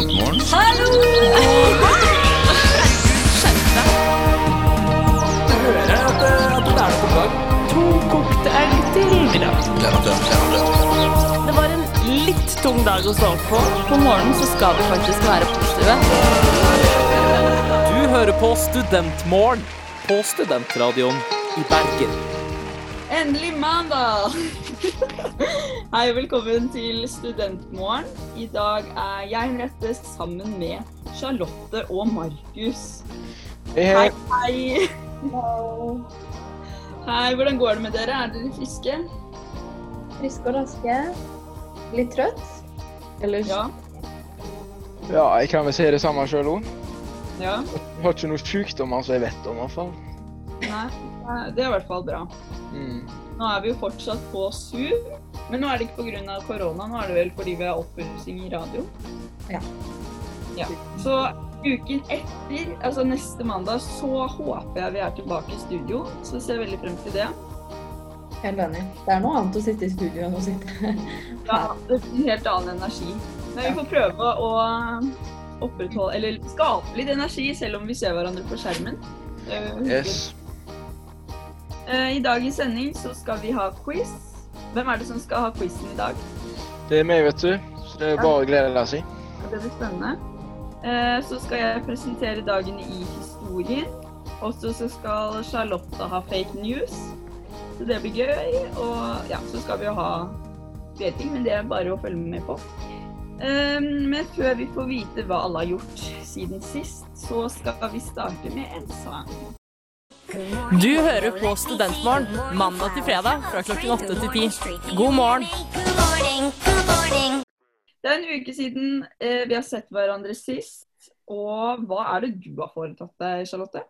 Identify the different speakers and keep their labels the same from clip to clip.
Speaker 1: Hallo! Det var en litt tung dag å stå opp på. På morgenen så skal vi faktisk være positive.
Speaker 2: Du hører på Studentmorgen på Studentradioen i Bergen.
Speaker 1: Endelig mandag! Hei og velkommen til Studentmorgen. I dag er jeg Henriette sammen med Charlotte og Markus. Hei, hei. Hei, hvordan går det med dere? Er dere friske?
Speaker 3: Friske og raske. Litt trøtt. Eller
Speaker 1: Ja.
Speaker 4: Ja, jeg kan vel si det samme sjøl òg.
Speaker 1: ja.
Speaker 4: Jeg har ikke noen sykdommer som jeg vet om, i hvert fall.
Speaker 1: Nei, det er i hvert fall bra.
Speaker 4: Mm.
Speaker 1: Nå er vi jo fortsatt på Zoom, men nå er det ikke pga. korona. Nå er det vel fordi vi har oppussing i radio.
Speaker 3: Ja.
Speaker 1: ja. Så uken etter, altså neste mandag, så håper jeg vi er tilbake i studio. Så ser jeg veldig frem til det.
Speaker 3: Helt enig. Det er noe annet å sitte i studio enn å sitte
Speaker 1: Ja, det blir en helt annen energi. Men vi får prøve å eh, opprettholde, eller skape litt energi, selv om vi ser hverandre på skjermen. Det er jo hyggelig.
Speaker 4: Yes.
Speaker 1: Eh, I dagens sending så skal vi ha quiz. Hvem er det som skal ha quizen i dag?
Speaker 4: Det er meg, vet du. Så det er bare å glede seg.
Speaker 1: Og Det blir spennende. Eh, Så skal jeg presentere dagen i historien. Og så så skal Charlotte ha fake news. Så det blir gøy. Og ja, så skal vi jo ha flere ting, men det er bare å følge med på. Eh, Men før vi får vite hva alle har gjort siden sist, så skal vi starte med en sang.
Speaker 5: Du hører på Studentmorgen mandag til fredag fra klokken 8 til 10. God morgen!
Speaker 1: Det er en uke siden eh, vi har sett hverandre sist. Og hva er det du har foretatt deg, Charlotte?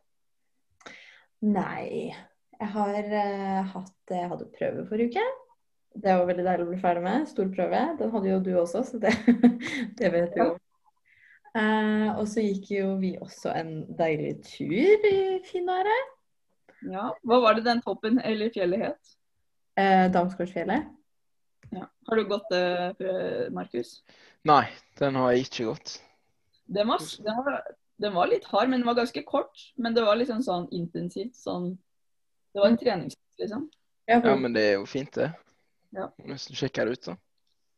Speaker 3: Nei. Jeg har eh, hatt Jeg hadde prøve forrige uke. Det var veldig deilig å bli ferdig med. Stor prøve. Den hadde jo du også, så det, det vet vi jo. Eh, og så gikk jo vi også en deilig tur i finværet.
Speaker 1: Ja, Hva var det den toppen eller fjellet het?
Speaker 3: Uh, Damsgårdsfjellet.
Speaker 1: Ja. Har du gått det, eh, Markus?
Speaker 4: Nei, den har jeg ikke gått.
Speaker 1: Den var, den, var, den var litt hard, men den var ganske kort. Men det var liksom sånn intensivt. Sånn, det var en treningsøkt, liksom.
Speaker 3: Ja,
Speaker 4: Ja, men det er jo fint, det.
Speaker 1: Ja.
Speaker 4: Må Nesten sjekke det ut, da.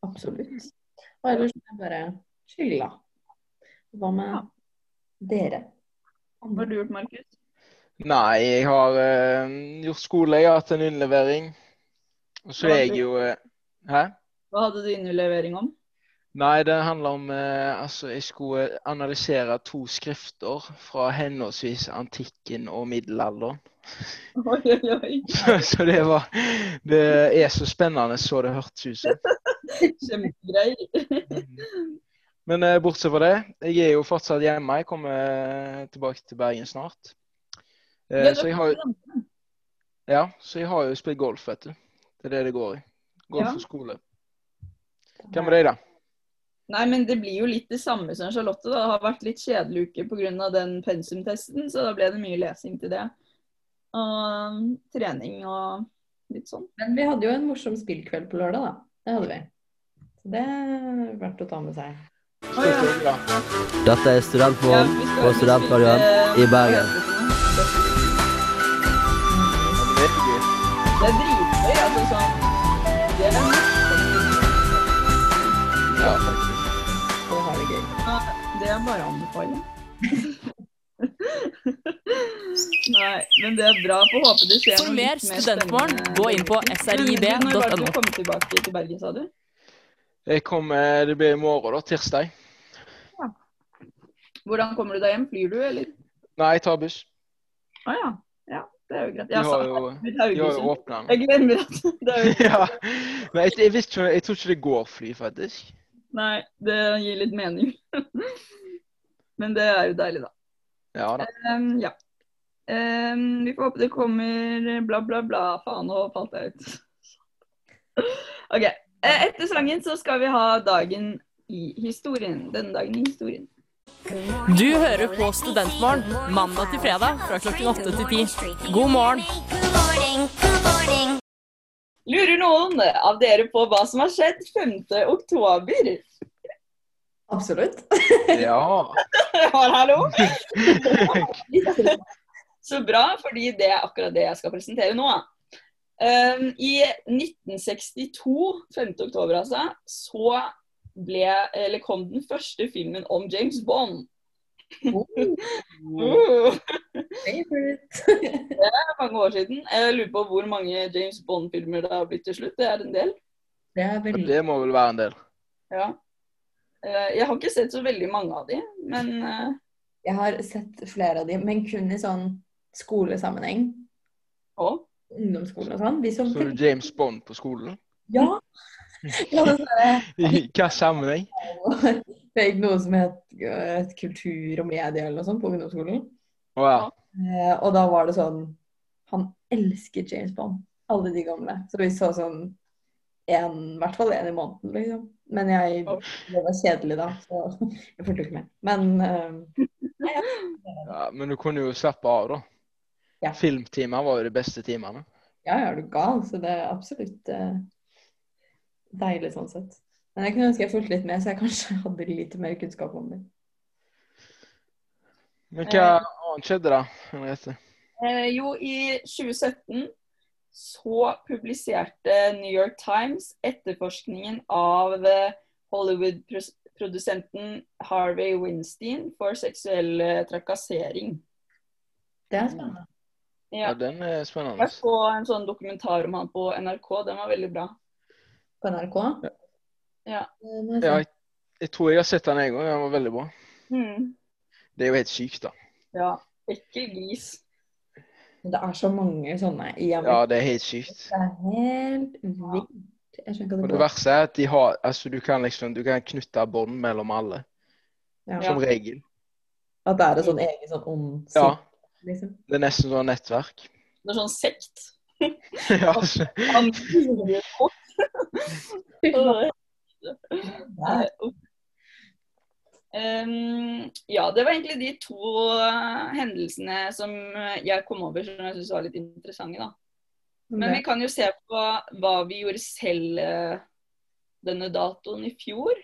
Speaker 3: absolutt. Og ellers har jeg bare chilla. Hva med
Speaker 1: Ja.
Speaker 3: dere?
Speaker 1: Hva har du gjort, Markus?
Speaker 4: Nei, jeg har eh, gjort skole. Jeg har hatt en innlevering. Og så er jeg jo eh, Hæ?
Speaker 1: Hva hadde du innlevering om?
Speaker 4: Nei, det handler om eh, Altså, jeg skulle analysere to skrifter fra henholdsvis antikken og middelalderen.
Speaker 1: Oi, oi, oi.
Speaker 4: så det var Det er så spennende så det hørtes ut som.
Speaker 1: Kjempegreier.
Speaker 4: Men eh, bortsett fra det, jeg er jo fortsatt hjemme. Jeg kommer eh, tilbake til Bergen snart. Eh,
Speaker 1: Ja, du
Speaker 4: så, jeg har, ja, så jeg har jo spilt golf, vet du. Det er det det går i. Golf
Speaker 1: Ja.
Speaker 4: og skole. Hva med deg, da?
Speaker 1: Nei, men det blir jo litt det samme som Charlotte. Da. Det har vært litt kjedelig uke pga. den pensumtesten, så da ble det mye lesing til det. Og um, trening og litt sånn.
Speaker 3: Men vi hadde jo en morsom spillkveld på lørdag, da. Det hadde vi. Så det er verdt å ta med seg.
Speaker 1: Å, ja.
Speaker 4: Spilte du, da?
Speaker 6: Dette er Studentmorgen
Speaker 1: Ja, vi skal-
Speaker 6: på Studentradioen
Speaker 1: vi
Speaker 6: i
Speaker 1: skal-
Speaker 6: Bergen.
Speaker 4: Det
Speaker 1: Det
Speaker 4: er gøy.
Speaker 1: er dritgøy, altså sånn. Det er
Speaker 4: Ja, faktisk.
Speaker 3: Og ha det gøy.
Speaker 1: Det er bare å anbefale. Nei, men det er bra. Får håpe det skjer
Speaker 5: For
Speaker 1: noe
Speaker 5: mer
Speaker 1: litt mer
Speaker 5: studentmorgen,
Speaker 1: spennende.
Speaker 5: gå inn på
Speaker 1: Men Når var det du
Speaker 5: srib.no.
Speaker 1: kom tilbake til Bergen, sa du?
Speaker 4: Jeg kommer, det blir i morgen, da. Tirsdag.
Speaker 1: Hvordan kommer du deg hjem? Flyr du, eller?
Speaker 4: Nei, jeg tar buss.
Speaker 1: Å ja. ja. Det er jo greit.
Speaker 4: De
Speaker 1: Jeg
Speaker 4: har
Speaker 1: sa
Speaker 4: jo,
Speaker 1: Herregud,
Speaker 4: de har jo
Speaker 1: Haugesund.
Speaker 4: åpna den.
Speaker 1: Jeg glemmer at det er jo
Speaker 4: Ja. Men jeg, jeg, vet ikke, jeg tror ikke det går fly, faktisk.
Speaker 1: Nei, det gir litt mening. Men det er jo deilig, da.
Speaker 4: Ja da.
Speaker 1: Ehm, ja. Ehm, vi får håpe det kommer bla, bla, bla. Faen, nå falt jeg ut. OK. Eh, Etter sangen så skal vi ha dagen i historien. Denne dagen i historien.
Speaker 5: Du hører på Studentmorgen mandag til fredag fra klokken 8 til 10. God morgen!
Speaker 1: eh, Lurer noen av dere på hva som har skjedd 5. oktober?
Speaker 3: Absolutt.
Speaker 4: Ja.
Speaker 1: Hallo! Så bra, fordi det er akkurat det jeg skal presentere nå. Um, I 1962, 5. oktober altså, så ble, eller kom den første filmen om James Bond. Uh,
Speaker 3: Favorite.
Speaker 1: det er mange år siden. Jeg lurer på hvor mange James Bond-filmer det har blitt til slutt. Det er en del.
Speaker 3: Det er veldig
Speaker 4: Det må vel være en del.
Speaker 1: Ja. Eh, Jeg har ikke sett så veldig mange av de, men eh,
Speaker 3: Jeg har sett flere av de, men kun i sånn skolesammenheng.
Speaker 1: å.
Speaker 3: Ungdomsskolen og sånn. De som
Speaker 4: Så du James Bond på skolen?
Speaker 3: Ja! Jeg hadde sånne-
Speaker 4: I hva sammenheng?
Speaker 3: Det gikk noe som het eh, kultur og medie eller noe sånt på ungdomsskolen.
Speaker 4: Å ja.
Speaker 3: Eh, og da var det sånn Han elsker James Bond. Alle de gamle. Så vi så sånn en, i hvert fall én i måneden, liksom. Men jeg Det var kjedelig da, så jeg fulgte ikke med. Men eh,
Speaker 4: ja. Men du kunne jo slappe av, da.
Speaker 3: Ja.
Speaker 4: Filmtimer var jo de beste timene.
Speaker 3: ja, ja, er du gal? Så det er absolutt eh, deilig sånn sett. Men jeg kunne ønske jeg fulgte litt med, så jeg kanskje hadde litt mer kunnskap om det.
Speaker 4: Men hva annet skjedde da, Henriette?
Speaker 1: Eh, Jo, i 2017 så publiserte New York Times etterforskningen av eh, Hollywood-produsenten Harvey Weinstein for seksuell eh, trakassering.
Speaker 3: Det er spennende.
Speaker 4: Ja,
Speaker 1: Ja.
Speaker 4: den er spennende.
Speaker 1: Jeg så en sånn dokumentar om han på NRK, den var veldig bra.
Speaker 3: På NRK?
Speaker 1: Ja.
Speaker 3: Eh, må jeg se.
Speaker 4: Ja, jeg, jeg tror jeg har sett den en gang. Den var veldig bra.
Speaker 1: Hmm.
Speaker 4: Det er jo helt sykt, da.
Speaker 1: Ja, ekkel gris.
Speaker 3: Men Det er så mange sånne i
Speaker 4: Ja,
Speaker 3: Amerika.
Speaker 4: det er helt sykt.
Speaker 3: Det er helt vilt. Jeg
Speaker 4: Og det
Speaker 3: skjønner ikke hva det går.
Speaker 4: verste er at de har Altså, du kan liksom Du kan knytte bånd mellom alle.
Speaker 3: Ja.
Speaker 4: Som regel.
Speaker 3: At det er en sånn egen sånn ond
Speaker 4: Ja.
Speaker 3: sekt, liksom.
Speaker 4: Det er nesten sånn nettverk.
Speaker 1: Det er sånn sekt.
Speaker 4: ja, altså.
Speaker 1: Han Nei, uff. Ehm, ja, det var egentlig de to eh, hendelsene som eh, jeg kom over som jeg syntes var litt interessante. da. Men vi kan jo se på hva vi gjorde selv eh, denne datoen i fjor.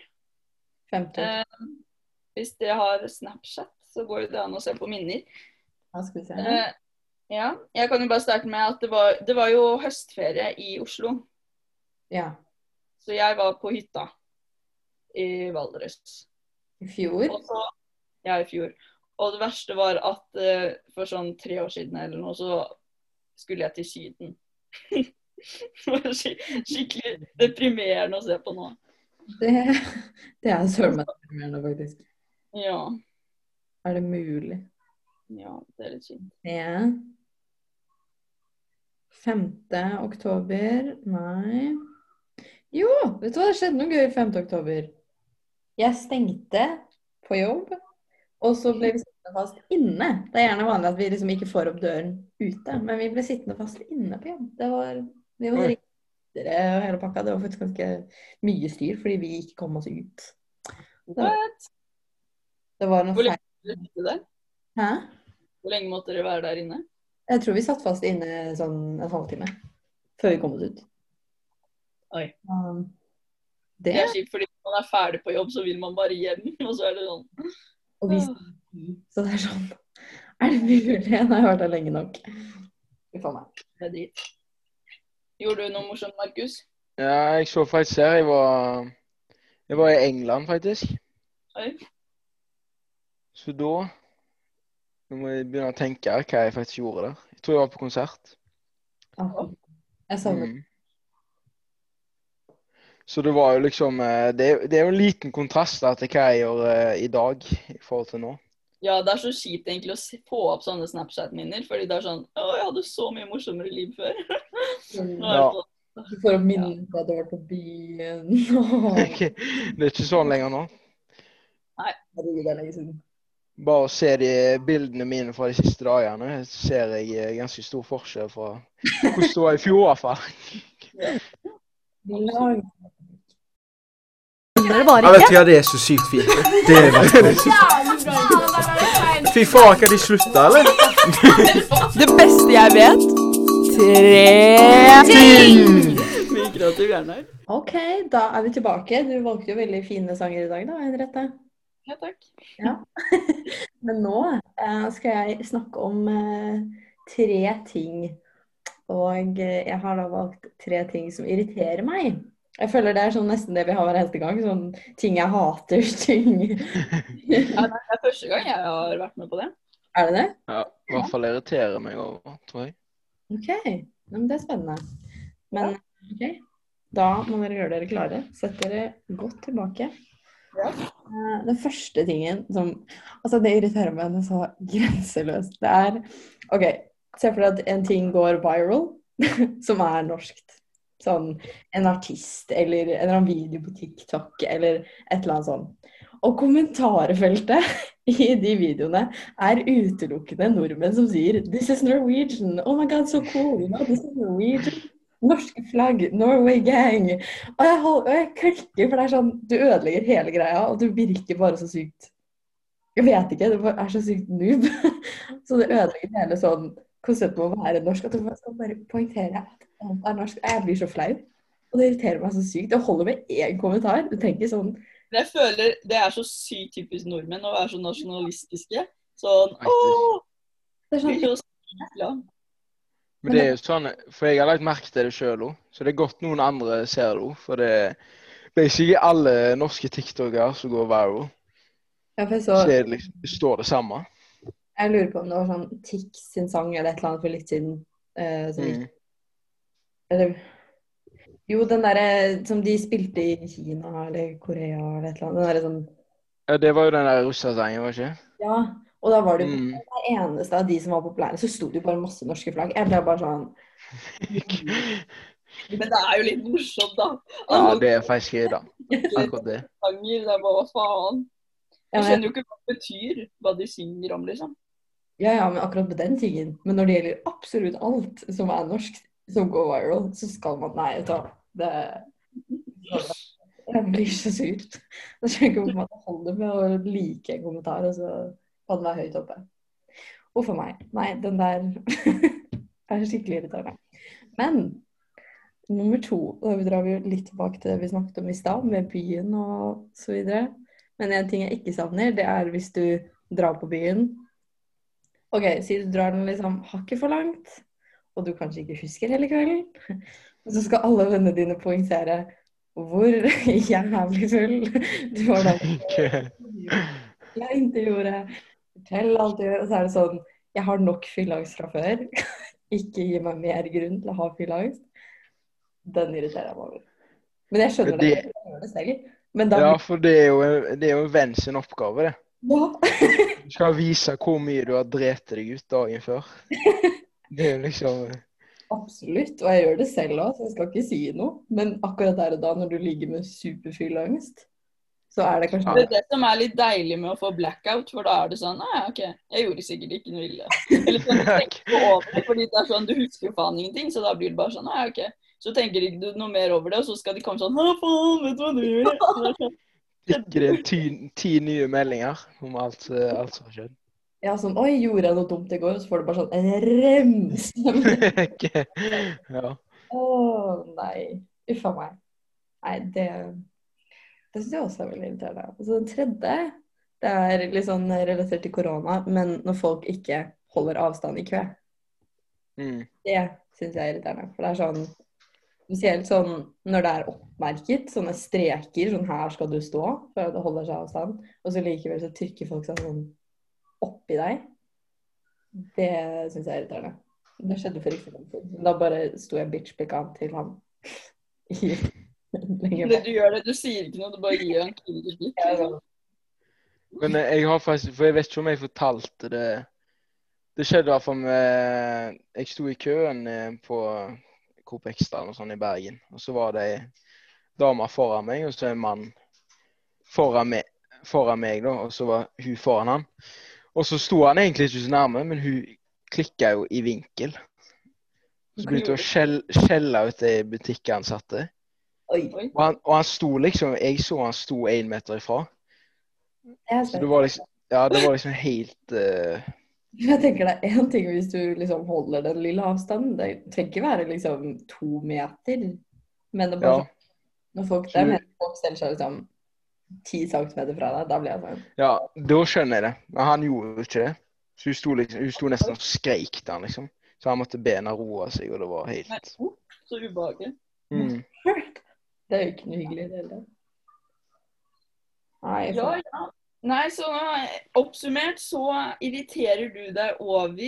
Speaker 3: Femte år.
Speaker 1: Eh, hvis dere har Snapchat, så går det an å se på minner.
Speaker 3: Ja, skal vi se.
Speaker 1: Eh, ja, Jeg kan jo bare starte med at det var, det var jo høstferie i Oslo.
Speaker 3: Ja.
Speaker 1: Så jeg var på hytta i Valdres.
Speaker 3: I fjor.
Speaker 1: Og så, ja, i fjor. Og det verste var at eh, for sånn tre år siden eller noe, så skulle jeg til Syden. det var skik skikkelig deprimerende å se på nå.
Speaker 3: Det, det er søren meg deprimerende, faktisk.
Speaker 1: Ja.
Speaker 3: Er det mulig?
Speaker 1: ja det er litt synd.
Speaker 3: Ja. 5. oktober Nei. Jo, vet du hva? Det skjedde noe gøy 5. oktober. Jeg stengte på jobb, og så ble vi sittende fast inne. Det er gjerne vanlig at vi liksom ikke får opp døren ute, men vi ble sittende fast inne på jobb. Det var, vi var
Speaker 4: Oi.
Speaker 3: drittere og hele pakka. Det var faktisk ganske mye styr fordi vi ikke kom oss ut.
Speaker 1: What?
Speaker 3: Det var noe
Speaker 1: Hvor
Speaker 3: feil.
Speaker 1: lenge dere sitte der?
Speaker 3: Hæ?
Speaker 1: Hvor lenge måtte dere være der inne?
Speaker 3: Jeg tror vi satt fast inne sånn en halvtime før vi kom oss ut.
Speaker 1: Oi.
Speaker 3: Um,
Speaker 1: Det
Speaker 3: det.
Speaker 1: er kjipt, fordi når man er ferdig på jobb, så vil man bare hjem. Og så er det sånn.
Speaker 3: Og vi
Speaker 1: åh.
Speaker 3: Så det er sånn Er det mulig? Nå har jeg vært her lenge nok. Uff a meg.
Speaker 1: Det er drit. Gjorde du noe morsomt, Markus?
Speaker 4: Ja, jeg så faktisk her. Jeg var Jeg var i England, faktisk.
Speaker 1: Oi.
Speaker 4: Så da Nå må jeg begynne å tenke her hva jeg faktisk gjorde der. Jeg tror jeg var på konsert.
Speaker 3: Ah, Jeg savner
Speaker 4: Mm. Så det var jo liksom eh, Det er, det er jo en liten kontrast da, til hva jeg gjør eh, i dag i forhold til nå.
Speaker 1: Ja, det er så kjipt egentlig å se- få opp sånne Snapchat-minner, fordi det er sånn Å, jeg hadde så mye morsommere liv før. Nå er det
Speaker 4: Ja.
Speaker 1: sånn,
Speaker 3: Du får opp minner på at du har vært på byen. Åh,
Speaker 4: det er ikke sånn lenger nå.
Speaker 3: herregud, det er lenge siden.
Speaker 4: Bare å se de bildene mine fra de siste dagene, ser jeg eh, ganske stor forskjell fra hvordan det var i fjor, i hvert fall.
Speaker 3: Lang.
Speaker 5: Skjønner det bare
Speaker 7: Ja, vet du hva, det er så sykt fint. Det er faktisk Fy faen, kan de slutte, eller?
Speaker 5: Det beste jeg vet Tre ting
Speaker 1: mye kreativ hjerne her.
Speaker 3: Ok, da er vi tilbake. Du valgte jo veldig fine sanger i dag, da, Henriette.
Speaker 1: Ja, takk.
Speaker 3: Men nå eh, skal jeg snakke om eh, tre ting. Og eh, jeg har da valgt tre ting som irriterer meg. Jeg føler det er sånn nesten det vi har hver eneste gang. Sånn ting jeg hater. Ting
Speaker 1: Det er første gang jeg har vært med på det.
Speaker 3: Er det det?
Speaker 4: Ja, I hvert fall irriterer meg over, tror jeg.
Speaker 3: OK. Ja, men det er spennende. Men OK. Da må dere gjøre dere klare. Sett dere godt tilbake.
Speaker 1: Ja.
Speaker 3: Eh, Den første tingen som Altså, det irriterer meg det er så grenseløst. Det er OK, se for deg at en ting går viral, som er norskt. Sånn en artist eller en eller annen video på TikTok eller et eller annet sånt. Og kommentarfeltet i de videoene er utelukkende nordmenn som sier 'This is Norwegian'. Oh my god, so cool. You know, this is Norwegian. Norske flagg, Norway gang. Og jeg, hold, og jeg klikker, for det er sånn Du ødelegger hele greia, og du virker bare så sykt Jeg vet ikke, du bare er så sykt noob. Så det ødelegger hele sånn konseptet med å være norsk. At du bare skal bare poengtere at alt er norsk. Jeg blir så flau. Og det irriterer meg så sykt. Det holder med én kommentar. Du tenker sånn
Speaker 1: Men jeg føler det er så sykt typisk nordmenn å være så nasjonalistiske. Sånn
Speaker 4: Faktisk.
Speaker 1: Åh!
Speaker 3: Det er
Speaker 1: Blir
Speaker 3: sånn
Speaker 1: så sykt glad.
Speaker 4: Men det er jo sånn, for jeg har lagt merke til det sjøl òg, så det er godt noen andre ser det òg. For det er basically alle norske TikToker som går viral.
Speaker 3: Ja, for jeg
Speaker 4: Så
Speaker 3: så
Speaker 4: er det liksom, det står det samme.
Speaker 3: Jeg lurer på om det var sånn Tix sin sang eller et eller annet for litt siden. eh, som gikk,
Speaker 4: Mm.
Speaker 3: eller, jo, den derre som de spilte i Kina eller Korea eller et eller annet. Den derre sånn
Speaker 4: Ja, det var jo den der russersangen, var det ikke?
Speaker 3: Ja. Og da var det jo
Speaker 4: Mm.
Speaker 3: hver eneste av de som var populære, så sto det jo bare masse norske flagg. Jeg ble bare sånn
Speaker 1: Men det er jo litt morsomt, da.
Speaker 4: Ja,
Speaker 1: Alle
Speaker 4: det er faktisk gøy, da. Akkurat det.
Speaker 1: sanger, det er bare hva faen.
Speaker 3: ja,
Speaker 1: Jeg
Speaker 3: men,
Speaker 1: skjønner jo ikke hva det betyr, hva de synger om, liksom.
Speaker 3: ja, ja, men akkurat på den tingen. Men når det gjelder absolutt alt som er norsk, som går viral, så skal man Nei, vet du hva. Det Jeg blir så sur. Jeg skjønner ikke hvorfor man holder med å like en kommentar, og så kan den være høyt oppe. Huff a meg. Nei, den der er skikkelig irriterende. Men nummer to Da drar vi jo litt tilbake til det vi snakket om i stad, med byen og så videre. Men en ting jeg ikke savner, det er hvis du drar på byen OK, si du drar den liksom hakket for langt, og du kanskje ikke husker hele kvelden. Og så skal alle vennene dine poengtere hvor jævlig full du var da. Jeg intervjuer, fortell alt du gjør. Og så er det sånn Jeg har nok fylleangst fra før. Ikke gi meg mer grunn til å ha fylleangst. Den irriterer jeg meg over. Men jeg skjønner det.
Speaker 4: Det-
Speaker 3: Jeg gjør det selv. Men da
Speaker 4: Ja, for det er jo, det er jo en venn sin oppgave, det.
Speaker 3: ja.
Speaker 4: Du skal vise hvor mye du har drept deg ut dagen før. Det er liksom
Speaker 3: Absolutt, og jeg gjør det selv òg, så jeg skal ikke si noe. Men akkurat der og da, når du ligger med superfull angst, så er det kanskje
Speaker 1: Det er det som er litt deilig med å få blackout, for da er det sånn Nei, OK, jeg gjorde sikkert ikke noe ille. Eller sånn, du tenker ikke over det, fordi det er sånn, du husker jo faen ingenting, så da blir det bare sånn Nei, OK. Så tenker ikke du noe mer over det, og så skal de komme sånn Hva faen, vet du hva du gjorde? Så det er sånn,
Speaker 4: Ikke det er ti, ti nye meldinger om alt, eh, alt som har skjedd.
Speaker 3: Ja, sånn Oi, gjorde jeg noe dumt i går? Og så får du bare sånn en remse.
Speaker 4: ja.
Speaker 3: Å nei. Uff a meg. Nei, det Det syns jeg også er veldig irriterende. Og så den tredje, det er litt sånn relatert til korona, men når folk ikke holder avstand i kø.
Speaker 4: Mm.
Speaker 3: Det syns jeg er irriterende. For det er sånn Spesielt sånn når det er oppmerket, sånne streker, sånn her skal du stå, for at det holder seg avstand, og så likevel så trykker folk seg sånn oppi deg. Det syns jeg er irriterende. Det skjedde for ikke så lenge siden. Da bare sto jeg bitch-pekan til han. I lenge
Speaker 1: det du gjør det, du sier ikke noe, du bare gir en kriger blikk.
Speaker 3: sånn,
Speaker 1: liksom.
Speaker 4: Men eh, jeg har faktisk For jeg vet ikke om jeg fortalte det Det skjedde i hvert fall med Jeg sto i køen eh, på Coop Extra eller noe sånt i Bergen. Og så var det ei dame foran meg, og så en mann foran meg, foran meg da, og så var hun foran han. Og så sto han egentlig ikke så nærme, men hun klikka jo i vinkel. Så begynte hun å skjell- skjelle ut de butikkansatte.
Speaker 3: Oi.
Speaker 4: Og han, og han sto liksom Jeg så han sto én meter ifra.
Speaker 3: Jeg, er
Speaker 4: Så det
Speaker 3: spent.
Speaker 4: var liksom, ja, det var liksom helt eh,
Speaker 3: jeg tenker det er én ting hvis du liksom holder den lille avstanden. Det trenger ikke være liksom to meter, men det er bare
Speaker 4: Ja.
Speaker 3: sånn Når folk
Speaker 4: Sju.
Speaker 3: der mener at folk selv seg liksom ti centimeter fra deg, da blir jeg sånn
Speaker 4: Ja, da skjønner jeg det. Men han gjorde jo ikke det. Så hun sto, liksom, hun sto nesten og skreik til han, liksom. Så han måtte be henne roe seg, og det var helt
Speaker 1: oh, Så ubehagelig.
Speaker 4: mm.
Speaker 3: Det er jo ikke noe hyggelig i det hele tatt. Nei,
Speaker 1: Ja, ja. Nei, så eh, oppsummert så irriterer du deg over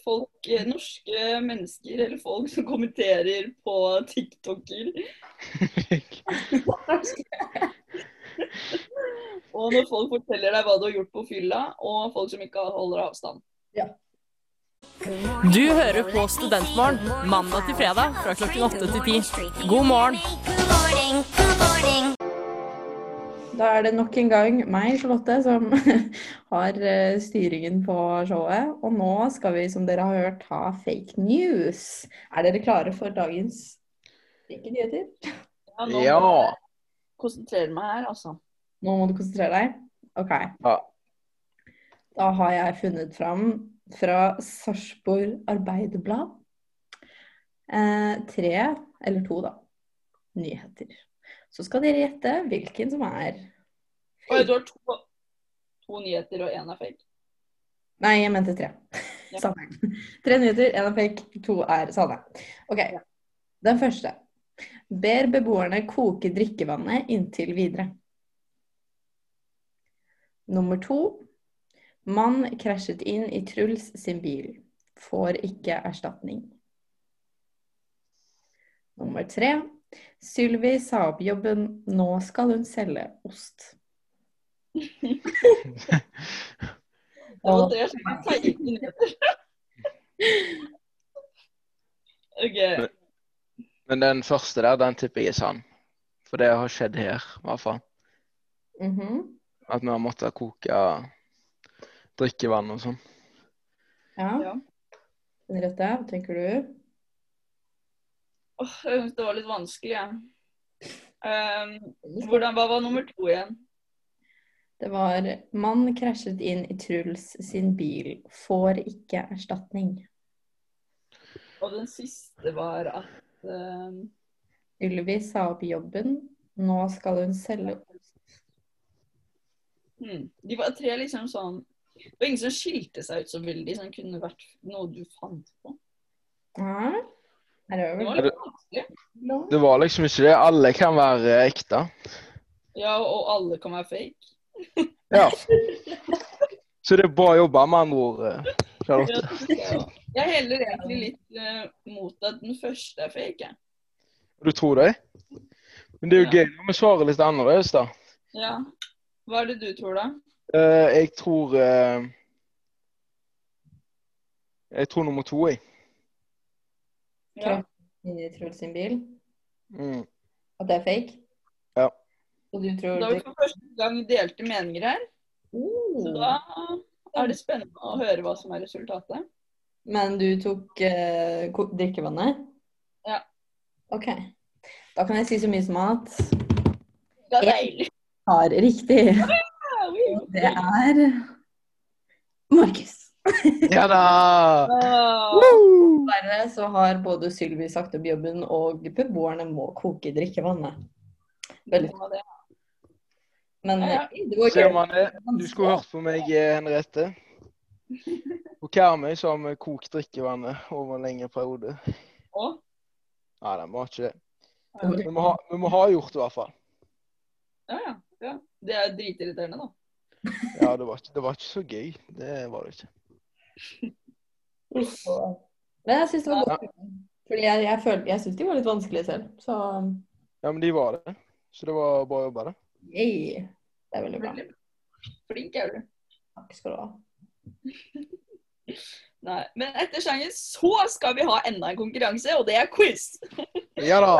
Speaker 1: folk, eh, norske mennesker eller folk som kommenterer på TikToker. Og når folk forteller deg hva du har gjort på fylla, og folk som ikke holder avstand.
Speaker 5: Du hører på Studentmorgen mandag til fredag fra klokken åtte til ti. God morgen!
Speaker 3: Da er det nok en gang meg, Charlotte, som har eh, styringen på showet. Og nå skal vi, som dere har hørt, ha fake news. Er dere klare for dagens Ikke nyheter?
Speaker 1: Ja, nå må
Speaker 4: Ja.
Speaker 1: jeg konsentrere meg her, altså.
Speaker 3: Nå må du konsentrere deg. OK.
Speaker 4: Ja.
Speaker 3: Da har jeg funnet fram fra Sarpsborg Arbeiderblad eh, tre, eller to, da, nyheter. Så skal dere gjette hvilken som er
Speaker 1: Oi, du har to, to nyheter og én er fake.
Speaker 3: Nei, jeg mente tre.
Speaker 1: Ja.
Speaker 3: Sanne. Tre nyheter, én er fake, to er sanne. OK. Den første. Ber beboerne koke drikkevannet inntil videre. Nummer to. Mann krasjet inn i Truls sin bil. Får ikke erstatning. Nummer tre. Sylvi sa opp jobben. Nå skal hun selge ost.
Speaker 1: Det var det som var fake nyheter. OK.
Speaker 4: Men den første der, den tipper jeg er sann. For det har skjedd her, i hvert fall.
Speaker 3: Mhm.
Speaker 4: At vi har måttet koke drikkevann og sånn.
Speaker 3: Ja.
Speaker 1: Ja.
Speaker 3: Den rette, hva tenker du?
Speaker 1: Åh, jeg synes det var litt vanskelig, jeg. Ehm, hvordan, hva var nummer to igjen?
Speaker 3: Det var 'Mann krasjet inn i Truls sin bil. Får ikke erstatning'.
Speaker 1: Og den siste var at ehm,
Speaker 3: Ylvi sa opp jobben. Nå skal hun selge
Speaker 1: hmm, De var tre liksom sånn Det var ingen som skilte seg ut så veldig, som kunne vært noe du fant på.
Speaker 3: Hæ? Er det
Speaker 1: Det
Speaker 3: over?
Speaker 1: var litt vanskelig.
Speaker 3: Lov?
Speaker 4: Det var liksom ikke det. Alle kan være ekte.
Speaker 1: Ja, og alle kan være fake.
Speaker 4: Ja. Så det er bra jobba, med andre ord. eh,
Speaker 1: Ja,
Speaker 4: Charlotte.
Speaker 1: det synes jeg også. Jeg heller egentlig litt eh, mot at den første er fake, jeg.
Speaker 4: Du tror det? Men det er jo
Speaker 1: Ja.
Speaker 4: gøy når vi svarer litt annerledes, da.
Speaker 1: Ja. Hva er det du tror, da?
Speaker 4: Eh, jeg tror eh, Jeg tror nummer to, jeg.
Speaker 1: Ja.
Speaker 3: Inn i Truls sin bil?
Speaker 4: Mm.
Speaker 3: At det er fake?
Speaker 4: Ja.
Speaker 3: Og du tror
Speaker 1: Da har vi
Speaker 3: det Oh.
Speaker 1: for første gang delte meninger her, så da er det spennende å høre hva som er resultatet.
Speaker 3: Men du tok eh, ko- drikkevannet?
Speaker 1: Ja.
Speaker 3: OK. Da kan jeg si så mye som at
Speaker 1: Det er
Speaker 3: Ja.
Speaker 1: deilig.
Speaker 3: har riktig. Det er Markus.
Speaker 4: Ja da!
Speaker 1: Åh,
Speaker 3: Dessverre så har både Sylvi sagt opp jobben, og beboerne må koke drikkevannet. Veldig.
Speaker 1: det var det.
Speaker 3: Men
Speaker 1: Ja,
Speaker 3: eh, det var
Speaker 4: Ser
Speaker 3: gøy.
Speaker 4: man det? Du skulle hørt på meg, eh, Henriette. På Karmøy så har vi kokt drikkevannet over en lengre periode.
Speaker 1: Åh,
Speaker 4: Nei, nei, vi har ikke det.
Speaker 1: ja,
Speaker 4: Men vi, har, men vi har gjort det, i hvert fall.
Speaker 1: ja, ja. Det er dritirriterende, da.
Speaker 4: Ja, det var, ikke, det var ikke så gøy. Det var det ikke.
Speaker 3: Så- Men jeg syns det var godt. Fordi jeg, jeg, føl- jeg syns de var litt vanskelige selv. Så
Speaker 4: Ja, men de var det. Så det var bra jobba, det.
Speaker 3: yay. Det er veldig bra.
Speaker 1: Veldig Flink er du.
Speaker 3: Takk skal du ha.
Speaker 1: Nei. Men etter sangen så skal vi ha enda en konkurranse, og det er quiz.
Speaker 4: Ja da.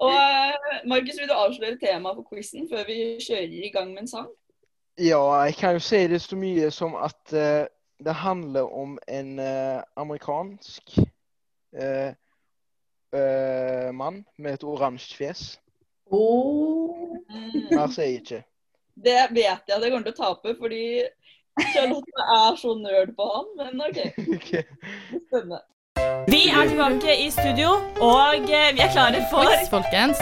Speaker 1: Og eh, Markus, vil du avsløre temaet for quizen før vi kjører i gang med en sang?
Speaker 4: Ja, jeg kan jo si det så mye som at eh, det handler om en eh, amerikansk eh, eh, mann med et oransje fjes.
Speaker 3: Åh.
Speaker 1: Mm.
Speaker 4: Mer sier jeg ikke.
Speaker 1: Det vet jeg at jeg kommer til å tape, fordi Charlotte er så nerd på han. Men OK,
Speaker 4: Ok.
Speaker 1: spennende.
Speaker 8: Vi er tilbake i studio, og eh, vi er klare for
Speaker 5: Quiz, folkens.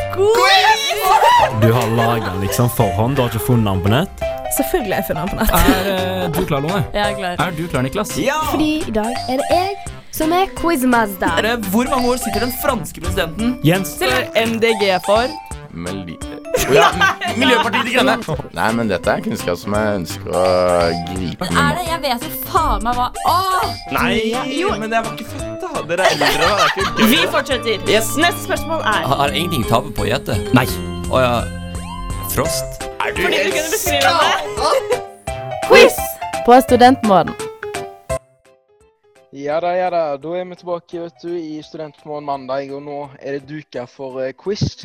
Speaker 9: Du har laga den liksom forhånd, du har ikke funnet den på nett?
Speaker 10: Selvfølgelig har jeg funnet den på nett.
Speaker 9: Er eh, du klar, Lone?
Speaker 5: Jeg er klar.
Speaker 9: Er du klar, Niklas?
Speaker 10: Fordi i dag er det jeg som er quizmaster.
Speaker 2: Dere, Hvor mange år sitter den franske presidenten?
Speaker 9: Jens?
Speaker 5: MDG for
Speaker 11: Meli... Å ja, Miljøpartiet De Grønne. Nei, men dette er kunnskap som jeg ønsker å gripe med.
Speaker 10: Er det? Jeg vet jo faen meg hva Åh!
Speaker 11: Nei, men jeg var ikke født da. Dere er eldre. Det er ikke
Speaker 8: Vi fortsetter.
Speaker 2: Yes.
Speaker 8: Neste spørsmål er
Speaker 12: Har ingenting å tape på å gjette.
Speaker 9: Nei.
Speaker 12: Å ja. Frost.
Speaker 11: Er du
Speaker 8: Fordi du kunne beskrive det.
Speaker 5: quiz på Studentmorgen.
Speaker 4: Ja da, ja da. Da er vi tilbake vet du, i Studentmorgen mandag, og nå er det duka for eh, quiz.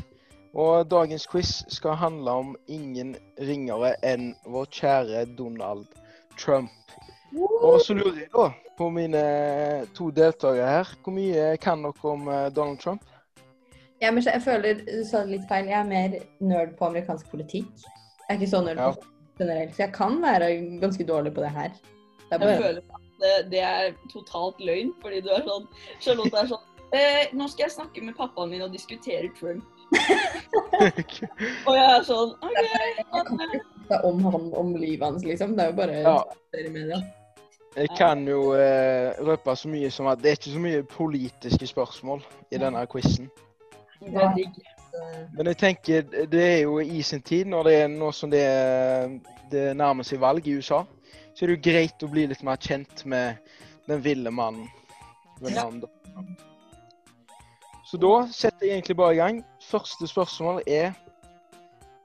Speaker 4: Og dagens quiz skal handle om ingen ringere enn vår kjære Donald Trump. Og så lurer jeg da på mine eh, to deltakere her. Hvor mye kan dere om eh, Donald Trump?
Speaker 3: Ja, men jeg føler du sa det litt feil. Jeg er mer nerd på amerikansk politikk. Jeg er ikke så nerd på
Speaker 4: Ja.
Speaker 3: politikk generelt, så jeg kan være ganske dårlig på det her. Det er
Speaker 1: Jeg
Speaker 3: bare...
Speaker 1: føler at det, det er totalt løgn, fordi du er sånn Charlotte er sånn eh, Nå skal jeg snakke med pappaen min og diskutere Trump. Og jeg er sånn OK.
Speaker 3: Jeg kan ikke snakke om han, om livet hans, liksom. Det er jo bare
Speaker 4: Ja.
Speaker 3: i media.
Speaker 4: Jeg kan jo eh, røpe så mye som at det er ikke så mye politiske spørsmål i denne quizen.
Speaker 1: Det er digg.
Speaker 4: Men jeg tenker, det er jo i sin tid, når det er nå som det, det nærmer seg valg i USA, så er det jo greit å bli litt mer kjent med den ville mannen. Ved navn Donald Trump. Så da setter jeg egentlig bare i gang. Første spørsmål er,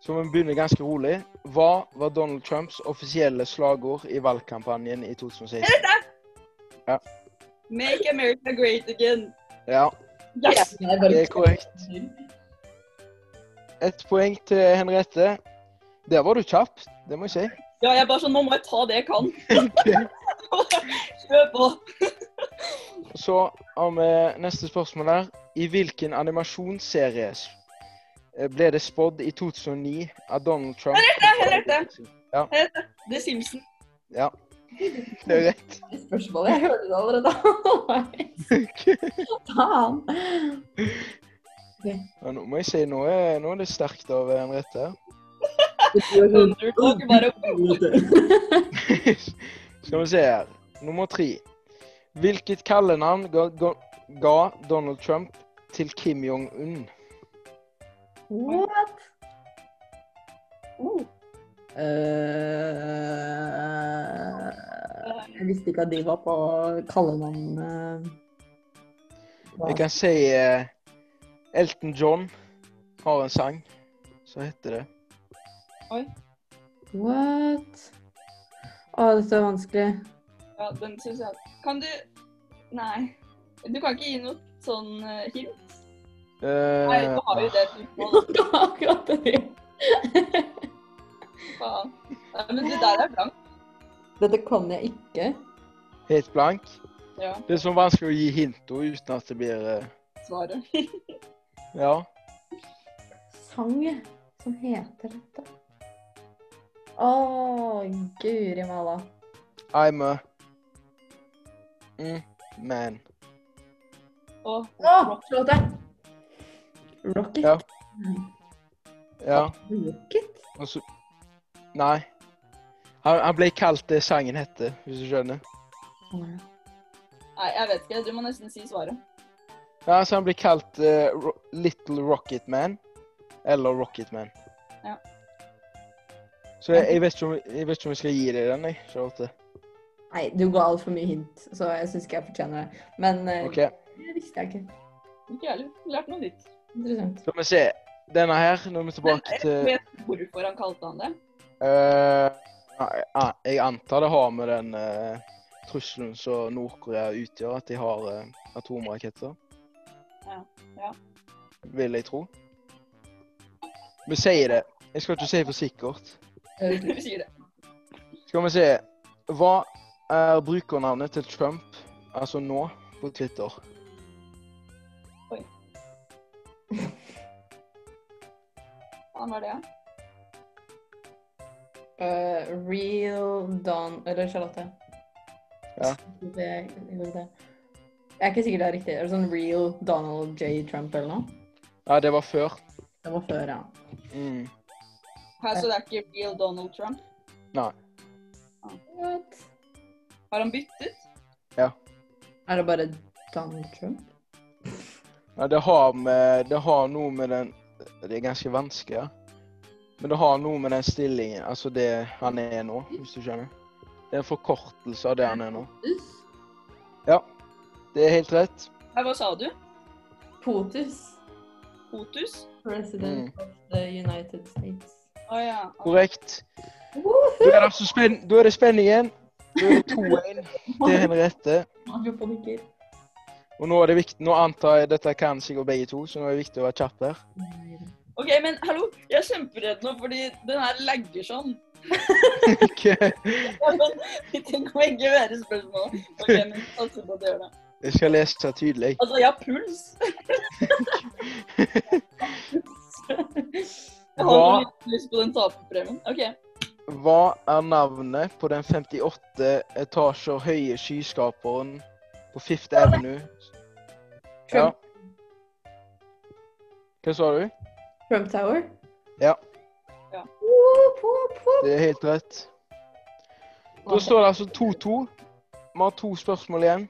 Speaker 4: som vi begynner ganske rolig, hva var Donald Trumps offisielle slagord i valgkampanjen i 2016?
Speaker 1: Make America great again.
Speaker 4: Ja,
Speaker 1: Yes!
Speaker 3: Jeg er bare-
Speaker 4: det er korrekt. Ett poeng til Henriette. Der var du kjapp, det må jeg si.
Speaker 1: Ja, jeg er bare sånn Nå må jeg ta det jeg kan. Kjør på.
Speaker 4: Så har vi neste spørsmål her. I hvilken animasjonsserie s- eh, ble det spådd i 2009 av Donald Trump
Speaker 1: Henriette! The Simpsons.
Speaker 4: Ja. Det er rett.
Speaker 3: Det er spørsmålet. Jeg hørte det allerede. Faen.
Speaker 4: Ja, nå må jeg si nå er, nå er det sterkt av Henriette.
Speaker 3: Oh,
Speaker 1: Underdog bare
Speaker 3: sånn-
Speaker 4: Skal vi se her. Nummer tre. Hvilket kallenavn ga, ga, ga Donald Trump til Kim Jong-un?
Speaker 3: What? Oh. Eh, jeg visste ikke at de var på kallenavn eh.
Speaker 4: Jeg kan si eh, Elton John har en sang som heter det.
Speaker 3: What? Å, dette er vanskelig.
Speaker 1: Ja, den syns jeg Kan du Nei. Du kan ikke gi noe sånn eh, hint?
Speaker 4: Eh,
Speaker 1: Nei, du har jo det du må,
Speaker 3: Det var akkurat det.
Speaker 1: da. faen. Nei, men det der er blankt.
Speaker 3: Dette kan jeg ikke.
Speaker 4: Helt blank.
Speaker 1: Ja,
Speaker 4: Det er så vanskelig å gi hint og uten at det blir eh,
Speaker 1: svaret.
Speaker 4: Ja.
Speaker 3: Sang som heter dette. Å, guri malla.
Speaker 4: I'm a mm, man.
Speaker 1: Og
Speaker 3: Å, Charlotte! Rocket.
Speaker 4: Ja. Ja.
Speaker 3: Rocket?
Speaker 4: Og så Nei. Han, han ble kalt det sangen heter, hvis du skjønner.
Speaker 1: Nei, jeg vet ikke. Du må nesten si svaret.
Speaker 4: Ja, så han ble kalt eh, Ro Little Rocket Man. Eller Rocket Man.
Speaker 1: Ja.
Speaker 4: Så jeg, jeg, vet ikke om, jeg vet ikke om jeg skal gi deg den, jeg. Charlotte.
Speaker 3: Nei, du ga altfor mye hint, så jeg syns ikke jeg fortjener det. Men eh,
Speaker 4: OK.
Speaker 3: det visste jeg ikke.
Speaker 1: Ikke jeg heller. Lært noe nytt.
Speaker 3: Interessant.
Speaker 4: Skal vi se. Denne her, nå er vi
Speaker 1: Men
Speaker 4: tilbake
Speaker 1: jeg
Speaker 4: til
Speaker 1: vet hvorfor han kalte han det.
Speaker 4: Eh, nei, ah, jeg antar det har med den eh, trusselen som Nord-Korea utgjør, at de har eh, atomraketter.
Speaker 1: Ja, ja.
Speaker 4: Vil jeg tro. Vi sier det. Jeg skal ikke si for sikkert.
Speaker 3: Eh,
Speaker 1: Du sier det.
Speaker 4: Skal vi se. Hva er brukernavnet til Trump, altså nå, på Twitter?
Speaker 1: Han var det, ja.
Speaker 3: Eh, real Don Eller Charlotte.
Speaker 4: Ja.
Speaker 3: Det- det- det. Jeg er ikke sikker det er riktig. Er det sånn real Donald J. Trump eller noe?
Speaker 4: Ja, det var før.
Speaker 3: Det var før, ja.
Speaker 4: Mm.
Speaker 1: Her, så det er ikke real Donald Trump?
Speaker 4: Nei.
Speaker 3: What?
Speaker 1: Har han byttet?
Speaker 3: Er det bare Donald Trump?
Speaker 4: Ja, det, har med, det har noe med den Det er ganske vanskelig, ja. Men det har noe med den stillingen, altså det han er nå, hvis du skjønner. Det er en forkortelse av det han er nå.
Speaker 1: Potus?
Speaker 4: Ja, det er helt rett.
Speaker 1: Nei, hva sa du?
Speaker 3: Potus.
Speaker 1: Potus?
Speaker 3: President
Speaker 4: Mm.
Speaker 3: of the United States.
Speaker 1: Å ja.
Speaker 4: Korrekt. Da er det, altså spenn, da er det spenning igjen. Da er det 2-1 til Henriette.
Speaker 3: Mario panikker.
Speaker 4: Og nå er det viktig, nå antar jeg dette kan sikkert begge to, så nå er det viktig å være kjapp der.
Speaker 1: OK, men hallo, jeg er kjemperedd nå fordi den her lagger sånn. Jeg tenker om jeg ikke hører spørsmålet. OK, men satser på at jeg gjør det.
Speaker 4: Jeg skal lese tydelig.
Speaker 1: Altså, jeg har puls. Jeg har
Speaker 4: Hva,
Speaker 1: litt lyst på den taperpremien. OK.
Speaker 4: hva er navnet på den 58 etasjer høye skyskaperen på Fifth Avenue? Ja. Hva sa du?
Speaker 3: Trump Tower.
Speaker 4: Ja,
Speaker 3: Whoop, whoop, whoop.
Speaker 4: det er helt rett. Da står det altså 2-2. Vi har to spørsmål igjen.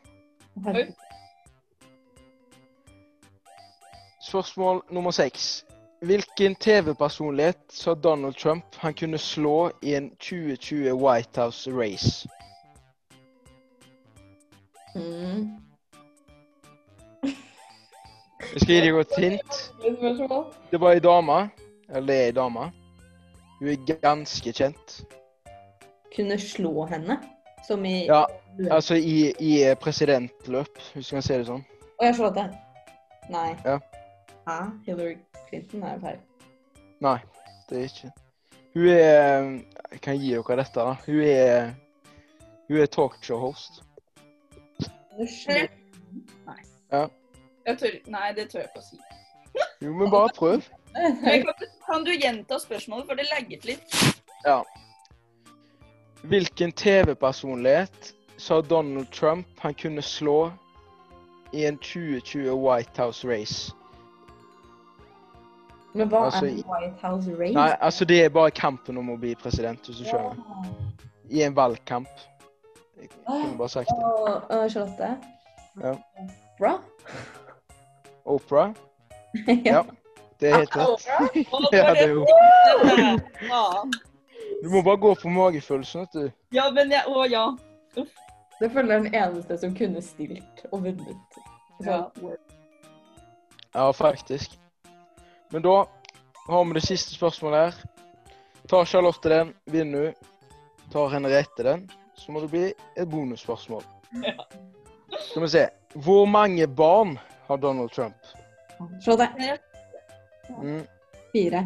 Speaker 4: Spørsmål nummer seks. Hvilken TV-personlighet sa Donald Trump han kunne slå i en 2020 White House race?
Speaker 3: Mm.
Speaker 4: Jeg skal gi deg et hint.
Speaker 3: Det er et spørsmål.
Speaker 4: Det var ei dame. Eller det er ei dame. Hun er ganske kjent.
Speaker 3: Kunne slå henne, som i...
Speaker 4: Ja, altså i, i presidentløp, hvis du kan si det sånn.
Speaker 3: Å, jeg har slått det. Nei.
Speaker 4: Ja.
Speaker 3: Hæ? Hillary Clinton er jo feil.
Speaker 4: Nei, det er ikke Hun er Jeg kan gi dere dette, da. Hun er Hun er talkshow-host.
Speaker 3: Kunne slå...
Speaker 4: Ja.
Speaker 1: Jeg tør, nei, det tør jeg ikke å si.
Speaker 4: Jo, men bare prøv.
Speaker 1: Men kan, du- kan du gjenta spørsmålet, for det lagget litt?
Speaker 4: Ja. Hvilken TV-personlighet sa Donald Trump han kunne slå i en 2020 White House race?
Speaker 3: Men hva
Speaker 4: Altså,
Speaker 3: er
Speaker 4: i-
Speaker 3: White House Race?
Speaker 4: Nei, altså det er bare kampen om å bli president, hvis du skjønner. I en valgkamp. Jeg kunne bare sagt det.
Speaker 3: Og, og Charlotte?
Speaker 4: Ja.
Speaker 3: Bra.
Speaker 4: Opera? Ja. Det er helt rett. Ja, det er jo.
Speaker 1: Faen.
Speaker 4: Du må bare gå på magefølelsen, vet du.
Speaker 1: Ja, men jeg Å, ja.
Speaker 3: Det føler jeg er den eneste som kunne stilt og vunnet.
Speaker 1: Ja.
Speaker 4: Ja, faktisk. Men da har vi det siste spørsmålet her. Tar Charlotte den, vinner hun. Tar Henriette den, så må det bli et bonusspørsmål. Skal vi se. Hvor mange barn har Donald Trump?
Speaker 3: Charlotte,
Speaker 4: Mm.
Speaker 3: fire.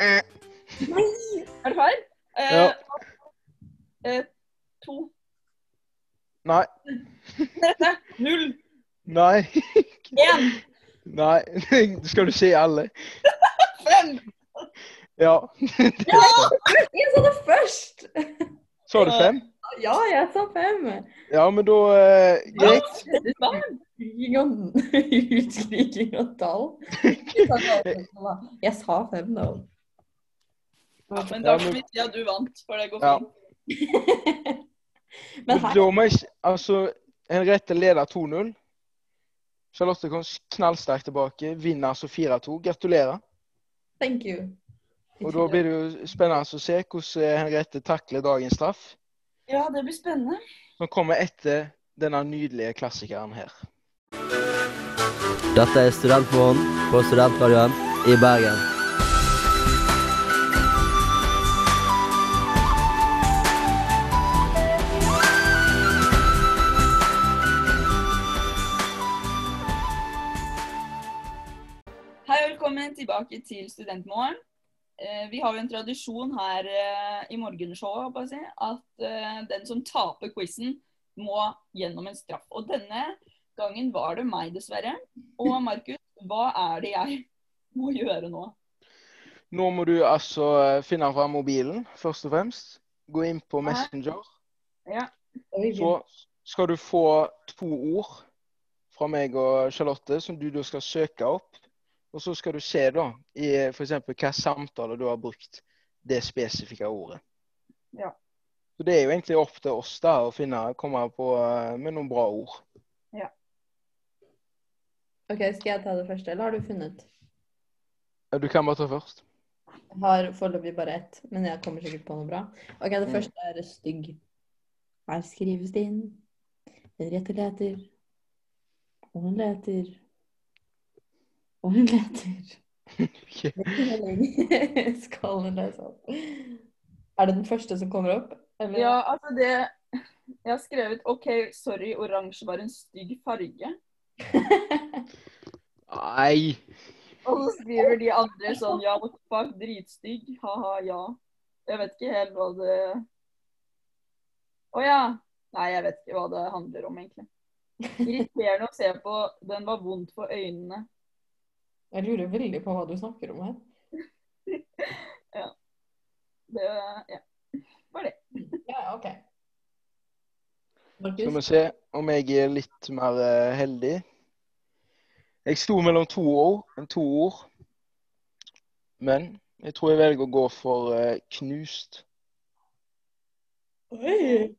Speaker 1: Er du ferdig? Eh,
Speaker 4: Ja.
Speaker 1: eh, to.
Speaker 4: Nei.
Speaker 1: Null.
Speaker 4: Nei.
Speaker 1: Én.
Speaker 4: Nei. Skal du si alle?
Speaker 1: Fem.
Speaker 4: Ja.
Speaker 3: Jeg sa det først!
Speaker 4: Sa du fem?
Speaker 3: Ja, jeg sa fem.
Speaker 4: Ja, men da eh, Greit.
Speaker 3: Utskriking av- Utskriking av tall. Jeg sa ikke alle tall, da. Jeg sa fem, da.
Speaker 1: Ja, men da får vi si at du vant, for det går
Speaker 4: Ja.
Speaker 1: fint.
Speaker 4: Men da må jeg s- Altså, Henriette leder 2-0. Charlotte kom s- knallsterkt tilbake, vinner altså 4-2. Gratulerer.
Speaker 3: Thank you.
Speaker 4: Og da blir det jo spennende å se hvordan eh, Henriette takler dagens straff,
Speaker 1: Ja, det blir spennende.
Speaker 4: som kommer etter denne nydelige klassikeren her.
Speaker 6: Dette er Studentmorgen på Studentradioen i Bergen.
Speaker 1: Hei og velkommen tilbake til Studentmorgen. Eh, Vi har jo en tradisjon her eh, i morgenshowet håper jeg, å si, at eh, den som taper quizen, må gjennom en straff. Og denne gangen var det meg, dessverre. Og Markus, hva er det jeg må gjøre nå?
Speaker 4: Nå må du altså eh, finne fram mobilen, først og fremst. Gå inn på Messenger.
Speaker 1: Ja.
Speaker 4: Så skal du få to ord fra meg og Charlotte som du da skal søke opp. Og så skal du se da, i f.eks. hva samtaler du har brukt det spesifikke ordet.
Speaker 1: Ja.
Speaker 4: Så Det er jo egentlig opp til oss da, å finne, komme på eh, med noen bra ord.
Speaker 3: Ok, Skal jeg ta det første, eller har du funnet?
Speaker 4: Ja, Du kan bare ta først.
Speaker 3: Jeg har foreløpig bare ett, men jeg kommer sikkert på noe bra. Ok, Det
Speaker 4: Mm.
Speaker 3: første er stygg. Her skrives det inn. Den rette leter. Og hun leter. Og hun leter.
Speaker 4: Det
Speaker 3: er ikke lenger. Skallen er sånn. Er det den første som kommer opp? eller?
Speaker 1: Ja, altså det Jeg har skrevet OK, sorry, oransje var en stygg farge.
Speaker 4: Nei!
Speaker 1: Og så skriver de andre sånn ja, what the fuck, dritstygg, ha-ha, ja. Jeg vet ikke helt hva det Å ja. Nei, jeg vet ikke hva det handler om, egentlig. Irriterende å se på. Den var vondt for øynene.
Speaker 3: Jeg lurer veldig på hva du snakker om her.
Speaker 1: Ja. Det ja. var det.
Speaker 3: Ja, OK.
Speaker 4: Skal vi se om jeg er litt mer eh, heldig. Jeg sto mellom to ord, to ord. Men jeg tror jeg velger å gå for eh, knust.
Speaker 3: Oi.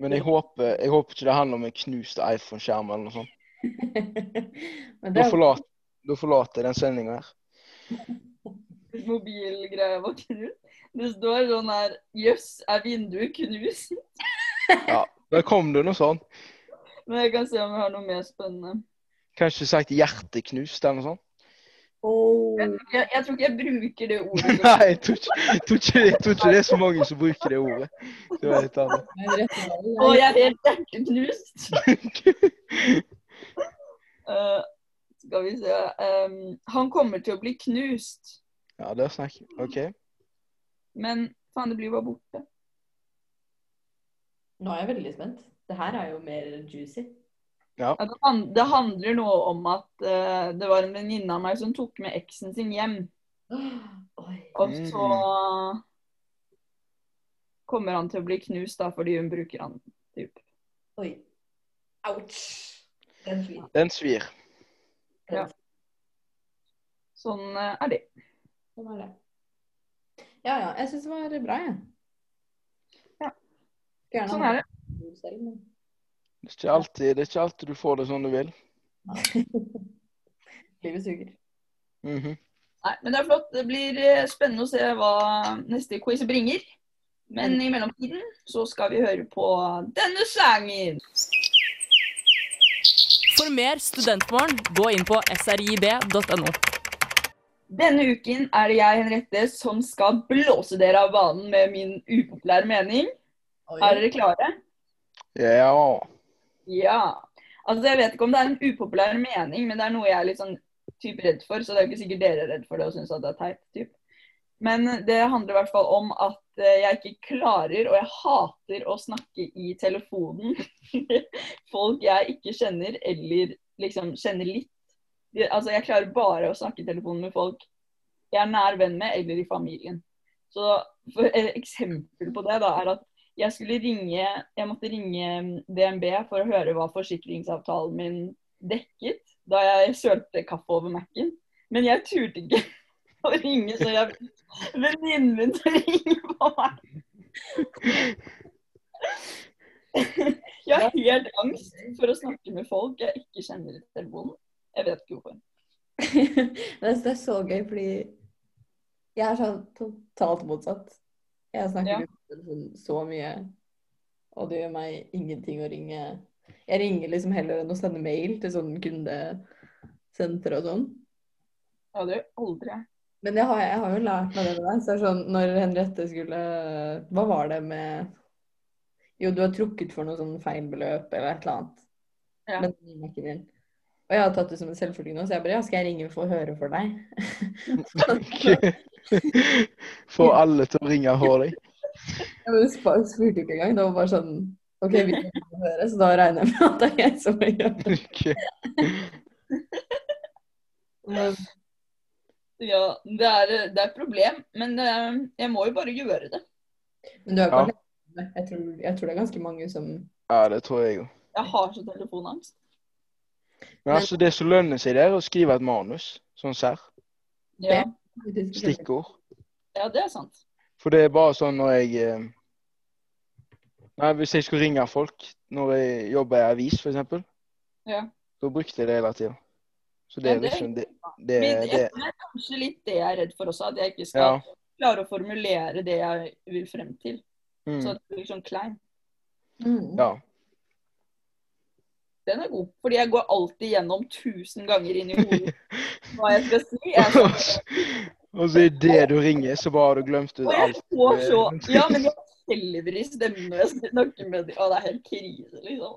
Speaker 4: Men jeg håper, jeg håper ikke det handler om en knust iPhone-skjerm eller noe sånt.
Speaker 3: Men
Speaker 4: Da
Speaker 3: det er jo
Speaker 4: forlater, da forlater jeg den sendinga her.
Speaker 1: Mobilgreia var knust. Det står sånn her Jøss, er vinduet knust?
Speaker 4: Ja, Der kom det noe sånt.
Speaker 1: Men jeg kan se om vi har noe mer spennende.
Speaker 4: Kanskje sagt hjerteknust eller noe sånt.
Speaker 1: Jeg, tror ikke- jeg, jeg tror ikke jeg bruker det ordet.
Speaker 4: Nei, jeg tror ikke, jeg tror ikke, jeg tror ikke det er så mange som bruker det ordet. Det var helt annet.
Speaker 1: Å, jeg er helt hjerteknust. Eh, skal vi se ehm, Han kommer til å bli knust,
Speaker 4: Ja, der snakker vi. OK.
Speaker 1: men faen, det blir jo bare borte.
Speaker 3: Nå er jeg veldig spent. Det her er jo mer juicy.
Speaker 4: Ja.
Speaker 1: det, han, det handler noe om at eh, det var en venninne av meg som tok med eksen sin hjem. Og så kommer han til å bli knust da, fordi hun bruker han. Typ.
Speaker 3: Oi. Ouch. Den svir.
Speaker 4: Den svir.
Speaker 1: Ja. Sånn eh, er det.
Speaker 3: Sånn er det. Ja, ja. Jeg syns det var bra, jeg.
Speaker 1: Ja.
Speaker 3: Skulle gjerne
Speaker 1: Sånn
Speaker 3: ha
Speaker 1: er det.
Speaker 3: hatt selv, men-
Speaker 4: Det er, ikke alltid, det er ikke alltid du får det som du vil.
Speaker 3: Livet suger.
Speaker 4: Mhm.
Speaker 1: Nei, men det er flott. Det blir eh, spennende å se hva neste quiz bringer. Men i mellomtiden så skal vi høre på denne sangen.
Speaker 5: For mer studentmorgen, gå inn på srib.no.
Speaker 1: Denne uken er det jeg, Henriette, som skal blåse dere av banen med min upopulære mening. Er dere klare?
Speaker 4: Ja.
Speaker 1: Ja. Altså, jeg vet ikke om det er en upopulær mening, men det er noe jeg er litt sånn typ redd for, så det er jo ikke sikkert dere er redd for det og syns at det er teit. Typ. Men det handler i hvert fall om at eh, jeg ikke klarer, og jeg hater å snakke i telefonen. Folk jeg ikke kjenner, eller liksom kjenner litt. Det- Altså, jeg klarer bare å snakke i telefonen med folk jeg er nær venn med, eller i familien. Så for et eksempel på det da, er at jeg skulle ringe Jeg måtte ringe mm, DNB for å høre hva forsikringsavtalen min dekket da jeg sølte kaffe over Mac-en. Men jeg turte ikke å ringe, så jeg venninnen min til å ringe på meg. Jeg har helt angst for å snakke med folk jeg ikke kjenner i telefonen. Jeg vet ikke hvorfor.
Speaker 3: Men jeg synes det er så gøy, fordi jeg er sånn totalt motsatt. Jeg snakker
Speaker 1: Ja.
Speaker 3: ikke på telefonen så mye, og det gjør meg ingenting å ringe. Jeg ringer liksom heller enn å sende mail til sånn kundesenter og sånn.
Speaker 1: Ja, det gjør aldri jeg.
Speaker 3: Men jeg har, jeg har jo lært meg det med deg. Så det er sånn, når Henriette skulle Hva var det med Jo, du har trukket for noe sånn feil beløp eller et eller annet.
Speaker 1: Ja.
Speaker 3: Men den gikk ikke inn. Og jeg har tatt det som en selvfølge nå, så jeg bare Ja, skal jeg ringe for å høre for deg?
Speaker 4: Får alle til å ringe for deg.
Speaker 3: Ja, men Hun spa- spurte jo ikke engang. Det var bare sånn OK, vi kan ikke høre, så da regner jeg med at det er jeg som gjør det. Men,
Speaker 1: Ja, det er, det er et problem, men eh, jeg må jo bare gjøre det.
Speaker 3: men du er
Speaker 4: Ja.
Speaker 3: ikke alene. Jeg tror, jeg tror det er ganske mange som
Speaker 4: Ja, det tror jeg òg.
Speaker 1: Jeg har så telefonangst.
Speaker 4: Men altså, det som lønner seg der, er å skrive et manus. Sånn serr.
Speaker 1: Ja.
Speaker 4: Stikkord.
Speaker 1: ja, det er sant.
Speaker 4: For det er bare sånn når jeg eh, Nei, hvis jeg skulle ringe folk når jeg jobber i avis, for eksempel,
Speaker 1: Ja.
Speaker 4: da brukte jeg det hele tida. Så det
Speaker 1: Ja,
Speaker 4: er
Speaker 1: det er
Speaker 4: liksom Det, det,
Speaker 1: Men jeg-
Speaker 4: det,
Speaker 1: det er kanskje litt det jeg er redd for også, at jeg ikke skal
Speaker 4: Ja.
Speaker 1: klare å formulere det jeg vil frem til.
Speaker 4: Mm.
Speaker 1: Så at det blir sånn klein.
Speaker 3: Mm.
Speaker 4: ja.
Speaker 1: Den er god, fordi jeg går alltid gjennom tusen ganger inn i hodet hva jeg skal si. Jeg er
Speaker 4: Og
Speaker 1: sånn,
Speaker 4: så- Og så idet du ringer, så bare har du glemt ut
Speaker 1: og jeg
Speaker 4: alt.
Speaker 1: får så Ja, men jeg skjelver i stemmen når jeg snakker med dem. Å, det er helt krise, liksom.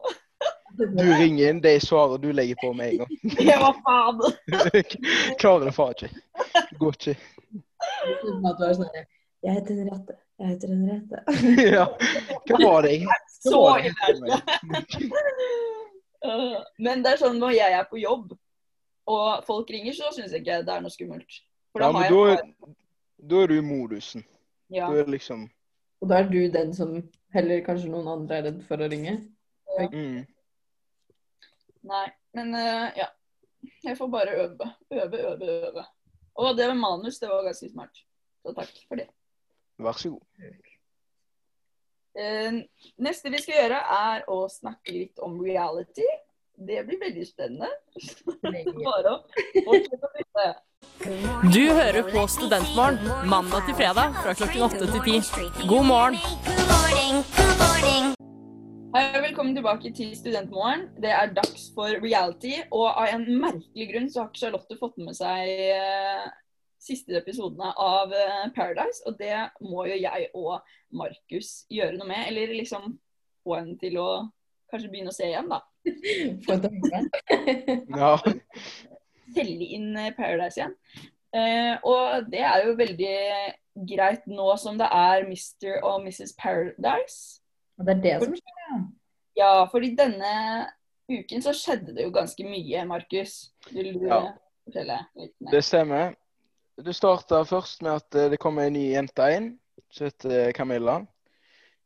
Speaker 4: Du ringer inn, de svarer, du legger på med en gang.
Speaker 1: Ja, hva faen?
Speaker 4: Klarer det faen ikke. Det Går ikke.
Speaker 3: Uten at du er sånn der, Jeg heter Henriette. Jeg heter Henriette.
Speaker 4: Ja. Hva var det jeg
Speaker 1: Så
Speaker 4: hva var det jeg
Speaker 1: ille er
Speaker 4: kom med?
Speaker 1: Øh, Men det er sånn når jeg er på jobb, og folk ringer, så syns jeg ikke det er noe skummelt. For
Speaker 4: Ja,
Speaker 1: da
Speaker 4: men
Speaker 1: har
Speaker 4: da,
Speaker 1: jeg
Speaker 4: da er du i modusen.
Speaker 1: Ja.
Speaker 4: Da er det liksom
Speaker 3: Og da er du den som heller kanskje noen andre er redd for å ringe.
Speaker 4: mm.
Speaker 1: Nei, men øh, ja. Jeg får bare øve. Øve, øve, øve. Og det med manus, det var ganske smart. Så takk for det.
Speaker 4: Vær så god.
Speaker 1: Eh, Neste vi skal gjøre, er å snakke litt om reality. Det blir veldig spennende. Bare å fortsette å lytte.
Speaker 5: Du hører på Studentmorgen mandag til fredag fra klokken åtte til ti. God morgen!
Speaker 1: Hei og velkommen tilbake til Studentmorgen. Det er dags for reality, og av en merkelig grunn så har ikke Charlotte fått med seg eh, siste episodene av eh, Paradise, og det må jo jeg og Markus gjøre noe med. Eller liksom få henne til å kanskje begynne å se igjen, da.
Speaker 3: For å dømme.
Speaker 4: Ja.
Speaker 1: selge inn eh, Paradise igjen. Eh, og det er jo veldig greit nå som det er Mr. og Mrs. Paradise.
Speaker 3: Og det er det som
Speaker 1: skjer, ja. Ja, fordi denne uken så skjedde det jo ganske mye, Markus. Vil du eh,
Speaker 4: Ja.
Speaker 1: fortelle litt mer?
Speaker 4: Det stemmer. Det starta først med at eh, det kom ei ny jente inn, som heter eh, Camilla.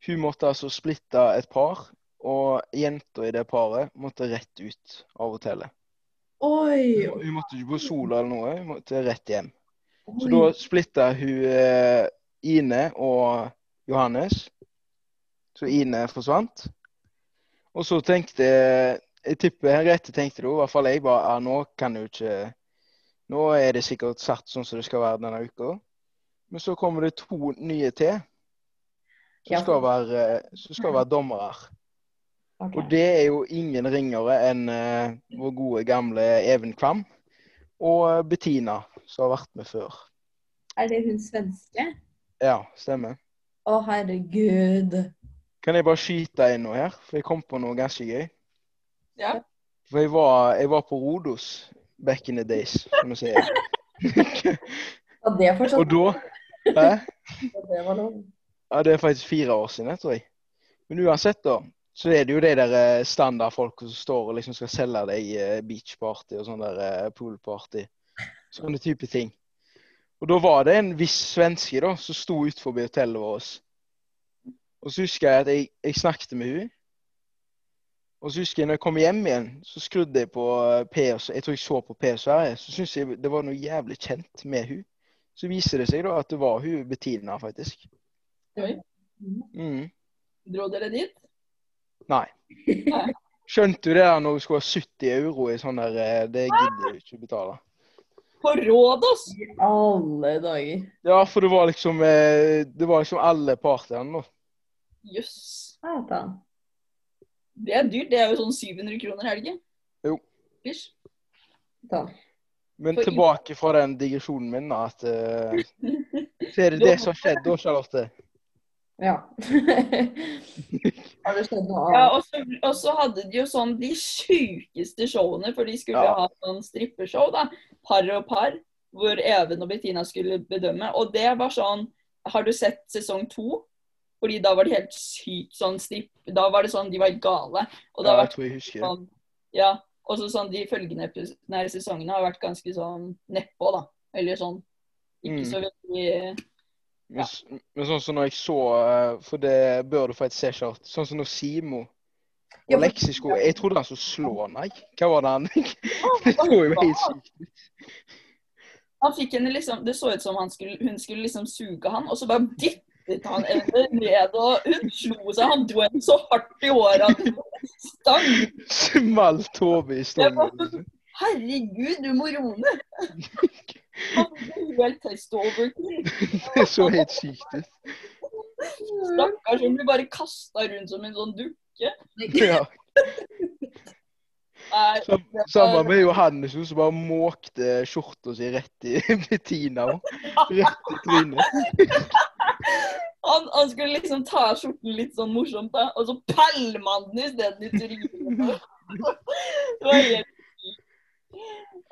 Speaker 4: Hun måtte altså splitte et par, og jenta i det paret måtte rett ut av hotellet.
Speaker 3: Oi!
Speaker 4: Hun måtte ikke på Sola eller noe, hun måtte rett hjem. Så
Speaker 3: Oi.
Speaker 4: da splitta hun eh, Ine og Johannes. Så Ine forsvant. Og så tenkte Jeg tipper Henriette tenkte det, i hvert fall jeg bare ja, nå kan du ikke Nå er det sikkert satt sånn som det skal være denne uka. Men så kommer det to nye til
Speaker 3: Ja.
Speaker 4: som skal være, eh, som skal være dommere. Og det er jo ingen ringere enn eh, vår gode gamle Even Kvam og eh, Bettina, som har vært med før.
Speaker 3: Er det hun svenske?
Speaker 4: Ja, stemmer.
Speaker 3: Å, herregud.
Speaker 4: Kan jeg bare skyte inn noe her? For jeg kom på noe ganske gøy.
Speaker 1: Ja.
Speaker 4: For jeg var, jeg var på Rodos back in the days, som vi sier.
Speaker 3: Var det fortsatt
Speaker 4: Og da Hæ?
Speaker 3: at det var lov?
Speaker 4: Ja, det er faktisk fire år siden, jeg tror jeg. Men uansett, da, så er det jo de der eh, standardfolka som står og liksom skal selge deg eh, beachparty og sånn der eh, poolparty. Sånne type ting. Og da var det en viss svenske da, som sto utenfor hotellet vårt. Og så husker jeg at jeg, jeg snakket med henne. Og så husker jeg når jeg kom hjem igjen, så skrudde jeg på eh, PS, jeg tror jeg så på PS Sverige, så syntes jeg det var noe jævlig kjent med hun. Så viser det seg da at det var hun Bettina, faktisk.
Speaker 1: Oi,
Speaker 4: Mm.
Speaker 1: dro dere dit?
Speaker 4: Nei.
Speaker 1: Nei.
Speaker 4: Skjønte du det der når du skulle ha 70 euro i sånn der eh, Det gidder du ikke betale.
Speaker 1: På Rådos?
Speaker 3: I alle dager.
Speaker 4: Ja, for det var liksom eh, Det var liksom alle partiene nå.
Speaker 1: Jøss.
Speaker 3: Satan.
Speaker 1: Det er dyrt. Det er jo sånn 700 kroner, er det ikke?
Speaker 4: Jo.
Speaker 1: Ish.
Speaker 4: Men
Speaker 1: For-
Speaker 4: tilbake fra den digresjonen min, da. At, eh, så er det det som har skjedd da, Charlotte.
Speaker 3: Ja. har det skjedd noe
Speaker 1: Ja,
Speaker 3: annet?
Speaker 1: og så, og så hadde de jo sånn de sjukeste showene, for de skulle
Speaker 3: Ja.
Speaker 1: ha sånn strippeshow, da. Par og par, hvor Even og Bettina skulle bedømme. Og det var sånn Har du sett sesong to? Fordi da var det helt sykt sånn stripp... Da var det sånn de var helt gale. Og det
Speaker 4: Ja,
Speaker 1: har
Speaker 4: jeg
Speaker 1: vært
Speaker 4: tror jeg husker det.
Speaker 1: sånn Ja. Og så sånn de følgende epis- nei, sesongene har vært ganske sånn nedpå, da. Eller sånn ikke
Speaker 4: Mm.
Speaker 1: så veldig
Speaker 4: Men, s- men sånn som når jeg så eh, For det bør du faktisk se, Charlotte. Sånn som når Simo Og leksisko Jeg trodde han skulle slå meg. Hva var det han Det så jo helt sykt
Speaker 1: Han fikk henne liksom, Det så ut som han skulle, hun skulle liksom suge han, og så bare dyttet han henne ned. Og hun slo seg. Han dro henne så hardt i håret at hun stang.
Speaker 4: Smalt hodet i liksom.
Speaker 1: Jeg
Speaker 4: stålen.
Speaker 1: bare, Herregud, du må roe ned! Han ble helt test over.
Speaker 4: Det så helt sykt ut.
Speaker 1: Stakkars, hun blir bare kasta rundt som en sånn dukke.
Speaker 4: Ja.
Speaker 1: Nei, det var-
Speaker 4: Sammen med Johannessen som bare måkte skjorta si rett i Bettina. og Rett i trynet.
Speaker 1: han, han skulle liksom ta av skjorten litt sånn morsomt, da, og så pælma han den isteden i trynet. Det var helt sykt.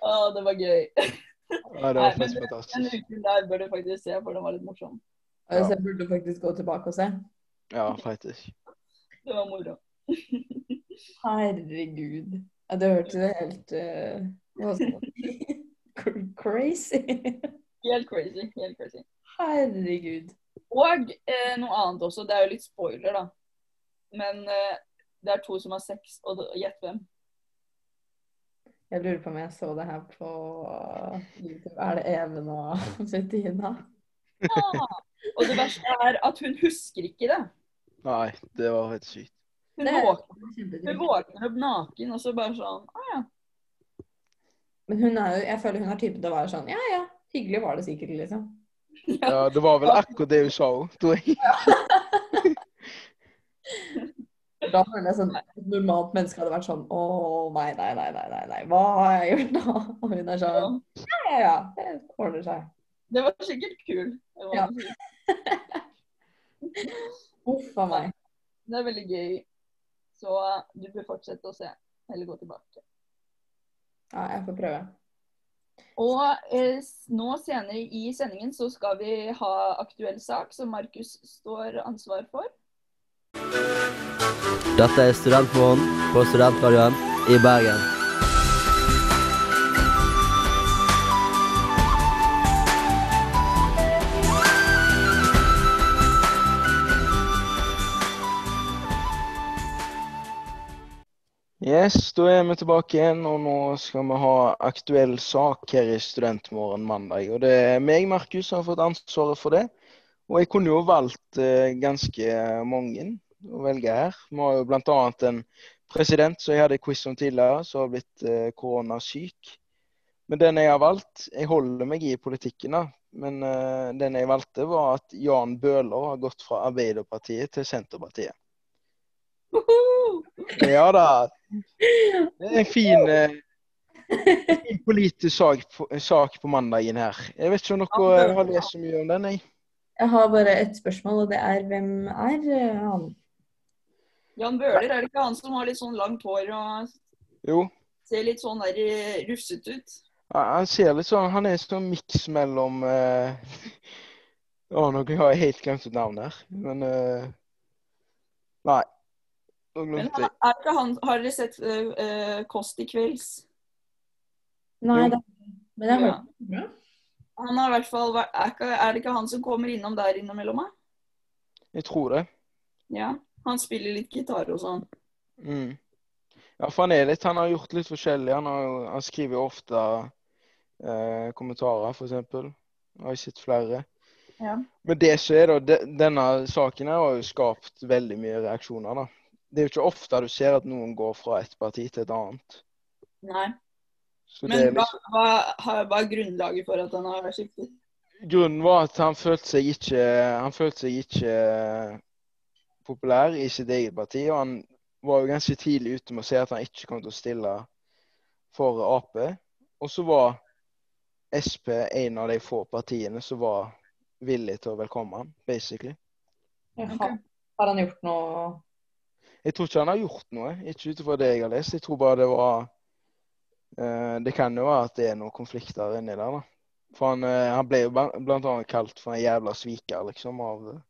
Speaker 1: Å, det var gøy.
Speaker 4: Ja, det var
Speaker 1: Nei, men
Speaker 4: faktisk
Speaker 1: Den
Speaker 4: fantastisk.
Speaker 1: uken der bør du faktisk se, for den var litt morsom.
Speaker 3: Så jeg burde faktisk gå tilbake og se.
Speaker 4: Ja, faktisk.
Speaker 1: Det var moro.
Speaker 3: Herregud. Ja, det hørtes jo helt eh, det var sånn- Crazy.
Speaker 1: Helt crazy. Helt crazy.
Speaker 3: Herregud.
Speaker 1: Og eh, noe annet også. Det er jo litt spoiler, da. Men eh, det er to som har sex, og d- gjett hvem.
Speaker 3: Jeg lurer på om jeg så det her på YouTube. Er det Even og Bettina?
Speaker 1: Ah! Og det verste er at hun husker ikke det.
Speaker 4: Nei, det var helt sykt.
Speaker 1: Hun våkner, hun våkner opp naken, og så bare sånn ah, ja.
Speaker 3: Men hun er jo, jeg føler hun er typen til å være sånn Ja, ja, hyggelig var det sikkert, liksom.
Speaker 4: Ja, det var vel akkurat det hun sa òg, tror jeg.
Speaker 3: Da føler jeg sånn et normalt menneske hadde vært sånn Å, nei, nei, nei, nei, nei, nei. Hva har jeg gjort da? Og hun er sånn Ja, ja, ja. Det ordner seg.
Speaker 1: Det var sikkert kul. Det, var
Speaker 3: Ja.
Speaker 1: sikkert-
Speaker 3: Uff a meg.
Speaker 1: det er veldig gøy. Så eh, du bør fortsette å se. Eller gå tilbake.
Speaker 3: Ja, jeg får prøve.
Speaker 1: Og eh, s- nå senere i sendingen så skal vi ha aktuell sak, som Markus står ansvar for.
Speaker 6: Dette er Studentmorgen på Studentradioen i Bergen.
Speaker 4: Yes, da er vi tilbake igjen, og nå skal vi ha aktuell sak her i Studentmorgen mandag. Og det er meg, Markus, som har fått ansvaret for det. Og jeg kunne jo valgt eh, ganske mange å velge her. Vi har jo bl.a. en president som jeg hadde quiz om tidligere, som har blitt eh, koronasyk. Men den jeg har valgt Jeg holder meg i politikken, da. Men eh, den jeg valgte, var at Jan Bøhler har gått fra Arbeiderpartiet til Senterpartiet. Ja da. Det er en fin, eh, fin politisk sak, på- sak på mandagen her. Jeg vet ikke om dere eh, har lest så mye om den, jeg.
Speaker 3: Jeg har bare et spørsmål, og det er hvem er eh, han?
Speaker 1: Jan Bøhler, er det ikke han som har litt sånn langt hår og
Speaker 4: Jo.
Speaker 1: ser litt sånn der eh, rufset ut?
Speaker 4: Han han ser litt sånn Han er sånn miks mellom eh, Å, nå har jeg helt glemt et navn her, men eh, Nei. Nå
Speaker 1: Men
Speaker 4: glemte
Speaker 1: han,
Speaker 4: jeg.
Speaker 1: er ikke han, har dere sett eh, eh, Kåss til kvelds?
Speaker 3: Nei,
Speaker 4: Jo.
Speaker 3: det men jeg
Speaker 1: Ja.
Speaker 3: hørte ja.
Speaker 1: Han har i hvert fall, vært- er, ikke, er det ikke han som kommer innom der innimellom? da?
Speaker 4: Jeg tror det.
Speaker 1: Ja. Han spiller litt gitar og sånn.
Speaker 4: Mm. Ja, for han er litt Han har gjort litt forskjellig. Han, har, jo- han skriver jo ofte eh, kommentarer, for eksempel. Jeg har sett flere.
Speaker 1: Ja.
Speaker 4: Men det som er da, de- denne saken her har jo skapt veldig mye reaksjoner. da. Det er jo ikke ofte du ser at noen går fra et parti til et annet.
Speaker 1: Nei.
Speaker 4: Så det
Speaker 1: Men
Speaker 4: er
Speaker 1: hva,
Speaker 4: liksom,
Speaker 1: hva, har- hva er grunnlaget for at han har skiftet?
Speaker 4: grunnen var at han følte seg ikke han følte seg ikke eh, populær i sitt eget parti. Og han var jo ganske tidlig ute med å si at han ikke kom til å stille for Ap. Og så var Sp en av de få partiene som var villig til å velkomme ham, basically.
Speaker 3: Har, har han gjort noe
Speaker 4: Jeg tror ikke han har gjort noe, ikke ut ifra det jeg har lest. Jeg tror bare det var eh, Det kan jo være at det er noen konflikter inni der, da. For han, eh, han ble jo ba- blant annet kalt for en jævla sviker, liksom, av,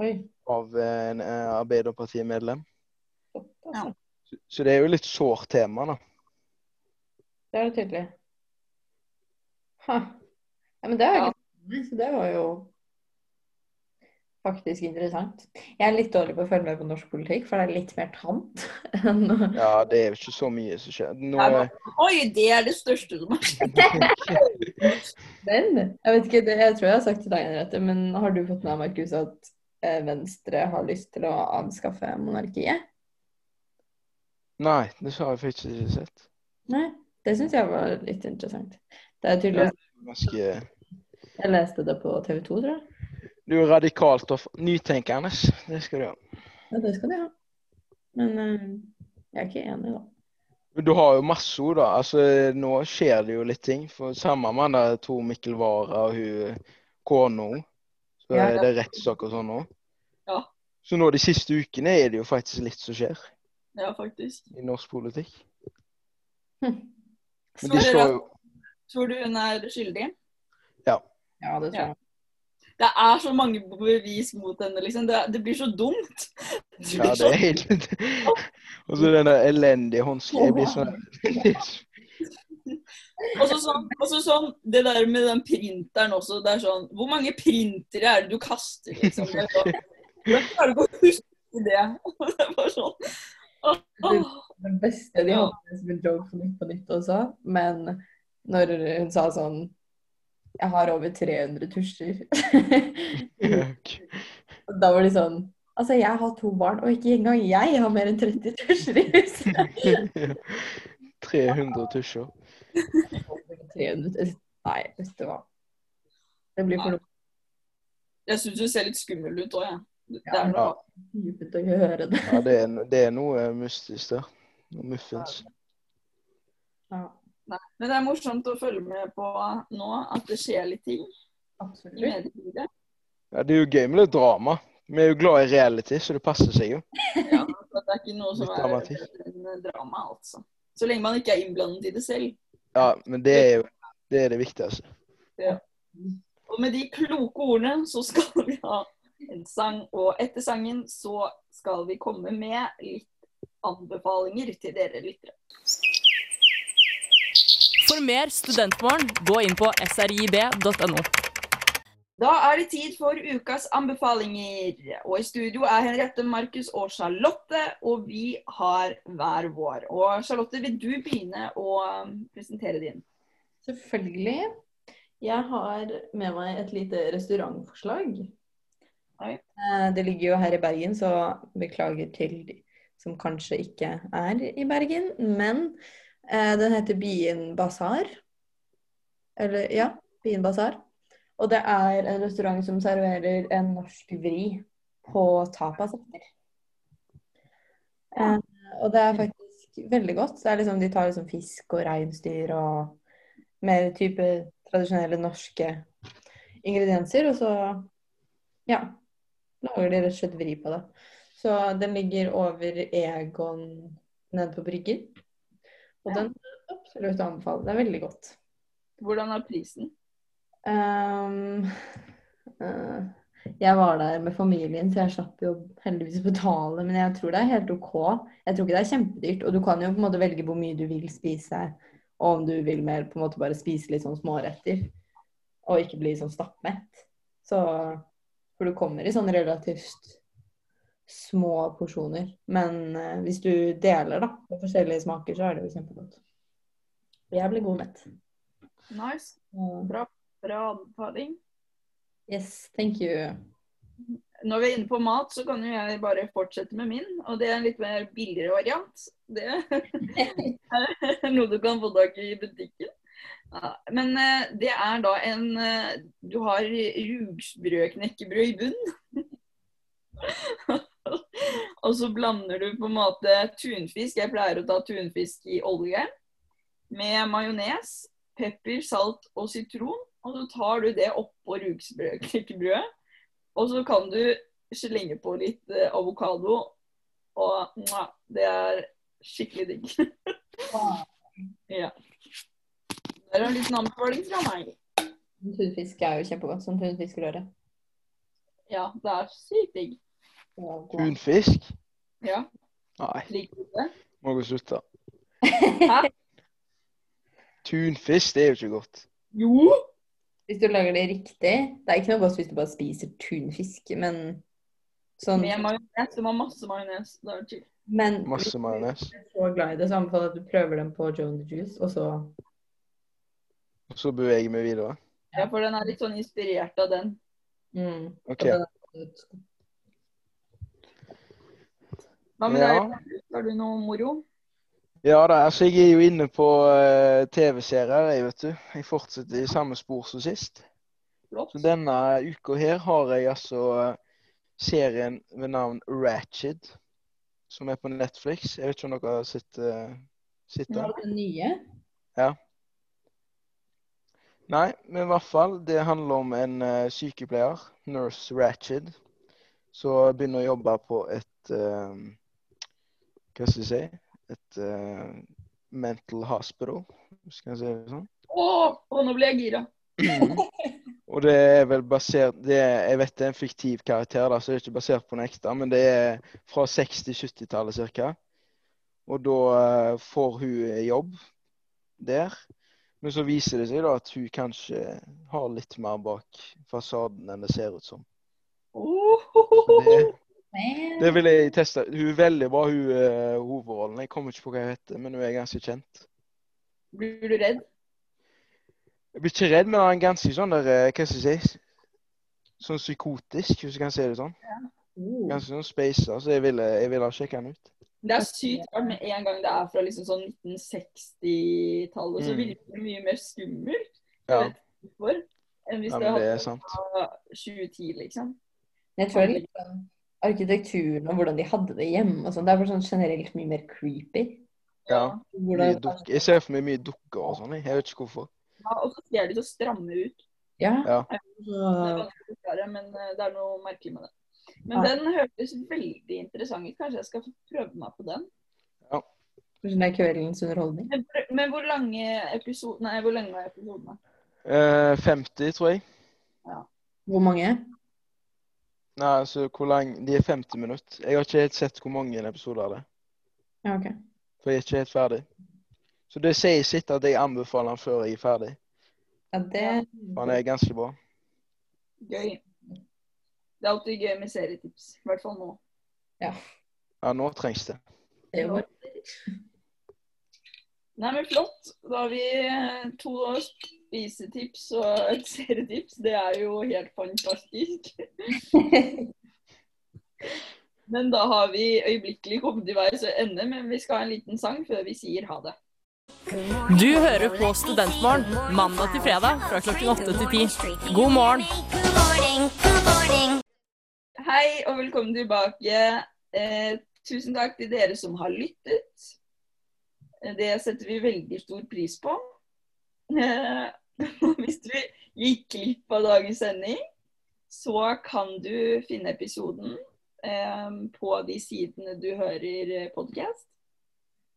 Speaker 3: Oi.
Speaker 4: av en eh, Arbeiderparti-medlem.
Speaker 3: Ja.
Speaker 4: Så, så det er jo litt sårt tema, da.
Speaker 3: Det er det tydelig. Ha. Ja, men det har jeg ikke sett, så det var jo Faktisk interessant. Jeg er litt dårlig på å følge med på norsk politikk, for det er litt mer tamt.
Speaker 4: Ja, det er jo ikke så mye som skjer. Nå,
Speaker 1: Nei,
Speaker 4: eh,
Speaker 1: men- Oi, det er det største som har
Speaker 3: Men jeg vet ikke, det, jeg tror jeg har sagt til deg, Henriette, men har du fått med deg, Markus, at eh, Venstre har lyst til å avskaffe monarkiet?
Speaker 4: nei, det har jeg faktisk ikke sett.
Speaker 3: Nei, det syns jeg var litt interessant.
Speaker 4: Det
Speaker 3: Det er
Speaker 4: er
Speaker 3: tydeligvis
Speaker 4: ganske...
Speaker 3: Jeg leste det på TV 2, tror jeg.
Speaker 4: Du er radikalt og nytenkende. Det skal du ha.
Speaker 3: Ja, det skal de ha. Men eh, jeg er ikke enig, da.
Speaker 4: Men Du har jo masse ord, da. Altså, nå skjer det jo litt ting. For samme med han der Tor Mikkel Wara og hun eh, kona. Så
Speaker 3: Ja,
Speaker 4: er
Speaker 3: ja.
Speaker 4: det rettssak og sånn nå.
Speaker 1: Ja.
Speaker 4: Så nå de siste ukene er det jo faktisk litt som skjer
Speaker 1: Ja, faktisk.
Speaker 4: i norsk politikk. Men
Speaker 1: Tror
Speaker 4: de
Speaker 1: dere
Speaker 4: så
Speaker 1: at-
Speaker 4: jo
Speaker 1: Tror du hun er skyldig?
Speaker 4: Ja.
Speaker 3: Ja, det tror jeg.
Speaker 1: Det er så mange bevis mot henne, liksom. Det, det blir så dumt. Det blir
Speaker 4: Ja, det
Speaker 1: så-
Speaker 4: er helt Og så den der elendige håndskrevet. Jeg blir sånn
Speaker 1: Og så sånn, og så sånn, det der med den printeren også, det er sånn Hvor mange printere er det du kaster, liksom? Det er sånn, Hvordan klarer du å huske det? Det er bare sånn åh, åh.
Speaker 3: Det beste de hadde det som en joke på Nytt på Nytt også, men når hun sa sånn Jeg har over 300 tusjer. Og da var de sånn Altså, jeg har to barn, og ikke engang jeg har mer enn 30 tusjer i huset.
Speaker 4: 300 tusjer.
Speaker 3: 300 Nei, vet du hva. Det blir for noe
Speaker 1: Jeg syns hun ser litt skummel ut òg, jeg. Det er noe.
Speaker 4: Ja.
Speaker 3: dypt å høre det.
Speaker 4: Ja, det er, det er noe mystisk der. Noe muffens.
Speaker 1: Nei. Men det er morsomt å følge med på nå, at det skjer litt ting.
Speaker 3: Absolutt.
Speaker 1: I mediebildet.
Speaker 4: Ja, det er jo gøy med litt drama. Vi er jo glad i reality, så det passer seg jo.
Speaker 1: Ja, så det er ikke noe som
Speaker 4: Litt
Speaker 1: er
Speaker 4: dramatikk.
Speaker 1: bedre enn drama, altså. Så lenge man ikke er innblandet i det selv.
Speaker 4: Ja, men det er jo det, er det viktigste.
Speaker 1: Ja. Og med de kloke ordene så skal vi ha en sang, og etter sangen så skal vi komme med litt anbefalinger til dere lyttere.
Speaker 5: For mer studentmorgen, gå inn på srib.no.
Speaker 1: Da er det tid for ukas anbefalinger. Og i studio er Henriette, Markus og Charlotte, og vi har hver vår. Og Charlotte, vil du begynne å um, presentere din?
Speaker 3: Selvfølgelig. Jeg har med meg et lite restaurantforslag. Eh, Det ligger jo her i Bergen, så beklager til de som kanskje ikke er i Bergen. Men eh, den heter Bien Basar. Eller ja, Bien Basar. Og det er en restaurant som serverer en norsk vri på tapasretter. Eh, og det er faktisk veldig godt. Det er liksom, de tar liksom fisk og reinsdyr og mer type tradisjonelle norske ingredienser. Og så ja, lager de rett og slett vri på det. Så den ligger over Egon nede på Bryggen. Og den er absolutt å anbefale. Det er veldig godt.
Speaker 1: Hvordan er prisen?
Speaker 3: Ehm, eh, jeg var der med familien, så jeg slapp jo heldigvis å betale. Men jeg tror det er helt OK. Jeg tror ikke det er kjempedyrt. Og du kan jo på en måte velge hvor mye du vil spise, og om du vil mer på en måte bare spise litt sånn småretter. Og ikke bli sånn stappmett. Så For du kommer i sånn relativt små porsjoner. Men eh, hvis du deler, da, på forskjellige smaker, så er det jo kjempegodt. Jeg blir god mett.
Speaker 1: Nice.
Speaker 3: Mm.
Speaker 1: Bra, bra anbefaling.
Speaker 3: Yes, thank you.
Speaker 1: Når vi er inne på mat, så kan jo jeg bare fortsette med min. Og det er en litt mer billigere variant. Det er noe du kan få tak i i butikken. Ja, men eh, det er da en eh, Du har rugsbrødknekkebrød i bunnen. og så blander du på en måte tunfisk, jeg pleier å ta tunfisk i olje, med majones, pepper, salt og sitron. Og så tar du det oppå rugsbrødknekkebrødet. Og så kan du slenge på litt eh, avokado, og mwah, det er skikkelig digg. ja. Der er en liten anbefaling fra meg.
Speaker 3: Tunfisk er jo kjempegodt som tunfiskrøre.
Speaker 1: Ja, det er sykt digg.
Speaker 4: Tunfisk?
Speaker 1: Ja.
Speaker 4: Nei,
Speaker 1: Liker du det?
Speaker 4: må gå og slutte.
Speaker 1: Hæ?
Speaker 4: Tunfisk, det er jo ikke godt.
Speaker 1: Jo!
Speaker 3: Hvis du lager det riktig Det er ikke noe godt hvis du bare spiser tunfisk, men sånn
Speaker 1: Med majones. Du må ha masse majones. Da er det chill.
Speaker 3: Men hvis
Speaker 4: Masse majones.
Speaker 3: du er så glad i det, så anbefaler jeg at du prøver den på Joan the Juice, og så
Speaker 4: Og så beveger jeg meg videre.
Speaker 1: Ja, for den er litt sånn inspirert av den.
Speaker 3: mm.
Speaker 4: OK.
Speaker 1: Hva med
Speaker 4: Ja.
Speaker 1: deg? Har du noe moro?
Speaker 4: Ja da, altså jeg er jo inne på eh, TV-serier, jeg, vet du. Jeg fortsetter i samme spor som sist.
Speaker 1: Flott.
Speaker 4: Så denne uka her har jeg altså eh, serien ved navn Ratched, som er på Netflix. Jeg vet ikke om dere har sett eh, sett
Speaker 3: Nå
Speaker 4: den?
Speaker 3: er det nye.
Speaker 4: Ja. Nei, men i hvert fall, det handler om en eh, sykepleier, nurse Ratched, som begynner å jobbe på et eh, Hva skal jeg si Et eh, mental hospital, skal jeg si det sånn.
Speaker 1: Å, å, nå ble jeg gira.
Speaker 4: Og det er vel basert det er, Jeg vet det er en fiktiv karakter, da, så det er ikke basert på noe ekte, men det er fra 60-70-tallet ca. Og da eh, får hun jobb der. Men så viser det seg da at hun kanskje har litt mer bak fasaden enn det ser ut som. Så Det, det vil jeg teste. Hun er veldig bra, hun eh, hovedrollen. Jeg kommer ikke på hva hun heter, men hun er ganske kjent.
Speaker 1: Blir du redd?
Speaker 4: Jeg blir ikke redd, men han er ganske sånn der eh, Hva skal jeg si? Sånn psykotisk, hvis du kan si det sånn. Ganske sånn spacer, så jeg ville, jeg ville sjekke han ut.
Speaker 1: Det er sykt rart med en gang det er fra liksom sånn 1960-tallet, så
Speaker 4: Mm.
Speaker 1: virker det mye mer skummelt
Speaker 4: Ja.
Speaker 1: for enn hvis
Speaker 4: Ja,
Speaker 1: det
Speaker 4: men det er
Speaker 1: hadde
Speaker 4: sant.
Speaker 1: vært fra 2010, liksom.
Speaker 3: Men jeg tror det er litt sånn arkitekturen og hvordan de hadde det hjemme og sånn. Det er bare sånn generelt mye mer creepy.
Speaker 4: Ja.
Speaker 3: Hvordan-
Speaker 4: Mye duk- jeg ser for meg mye dukker og sånn. jeg. Jeg vet ikke hvorfor.
Speaker 1: Ja, og så ser de så stramme ut.
Speaker 3: Ja.
Speaker 4: Ja.
Speaker 1: Det er vanskelig å forklare, men eh, det er noe merkelig med det. Men
Speaker 3: Ja.
Speaker 1: den høres veldig interessant ut. Kanskje jeg skal prøve meg på den.
Speaker 3: Hvordan det er kveldens underholdning.
Speaker 1: Men, hvor- men hvor lange episode, nei, hvor lenge er episodene?
Speaker 4: Eh, 50, tror jeg.
Speaker 3: Hvor mange?
Speaker 4: Nei, altså hvor lang De er 50 minutter. Jeg har ikke helt sett hvor mange episoder det er.
Speaker 3: Ja, ok.
Speaker 4: For jeg er ikke helt ferdig. Så det sier sitt at jeg anbefaler han før jeg er ferdig.
Speaker 3: Ja, det
Speaker 4: For han er ganske bra.
Speaker 1: Gøy. Det er alltid gøy med serietips. I hvert fall nå.
Speaker 4: Ja, nå trengs det.
Speaker 3: det er jo bare
Speaker 1: Nei, men flott. Da har vi eh, to spisetips og et serietips. Det er jo helt fantastisk. men da har vi øyeblikkelig kommet til veis ende, men vi skal ha en liten sang før vi sier ha det.
Speaker 5: Du hører på Studentmorgen mandag til fredag fra klokken åtte til ti. God morgen!
Speaker 1: Hei og velkommen tilbake. Eh, tusen takk til dere som har lyttet. Eh, Det setter vi veldig stor pris på. Eh, hvis du gikk glipp av dagens sending, så kan du finne episoden eh, på de sidene du hører podkast.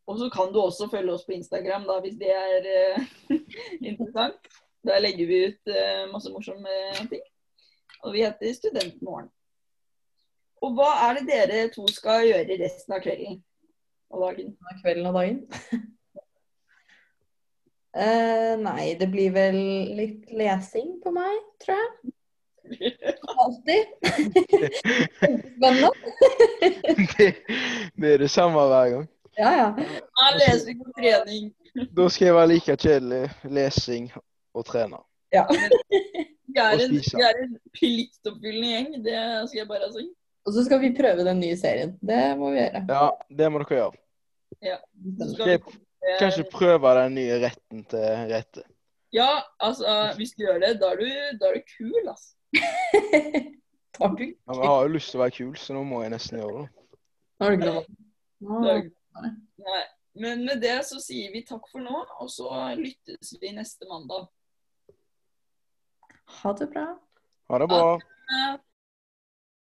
Speaker 1: Og så kan du også følge oss på Instagram, da, hvis det er eh, interessant. Der legger vi ut eh, masse morsomme ting. Og vi heter Studentmorgen. Og hva er det dere to skal gjøre resten av kvelden og dagen?
Speaker 3: av kvelden og dagen. Eh, nei, det blir vel litt lesing på meg, tror jeg. Alltid. Spennende.
Speaker 4: det, det er det samme hver gang.
Speaker 3: Ja, ja.
Speaker 1: Ja, lesing og trening.
Speaker 4: Da skal jeg være like kjedelig. Lesing og trene.
Speaker 1: Vi er
Speaker 4: Og
Speaker 1: en,
Speaker 4: spise.
Speaker 1: vi er en pliktoppfyllende gjeng, det skal jeg bare si.
Speaker 3: Og så skal vi prøve den nye serien. Det må vi gjøre.
Speaker 4: Ja, det må dere gjøre.
Speaker 1: Ja. Så skal
Speaker 4: Skal
Speaker 1: vi
Speaker 4: jeg
Speaker 1: komme-
Speaker 4: kanskje prøve den nye retten til rette?
Speaker 1: Ja, altså, hvis du gjør det, da er du, da er du kul, altså.
Speaker 3: Takk. Nå
Speaker 4: Ja, men Jeg har jo lyst til å være kul, så nå må jeg nesten gjøre det.
Speaker 3: er det ikke noe
Speaker 1: Da er
Speaker 3: Nå-
Speaker 1: du- Nei. Men med det så sier vi takk for nå, og så lyttes vi neste mandag.
Speaker 3: Ha det bra.
Speaker 4: Ha det bra.
Speaker 1: Eh,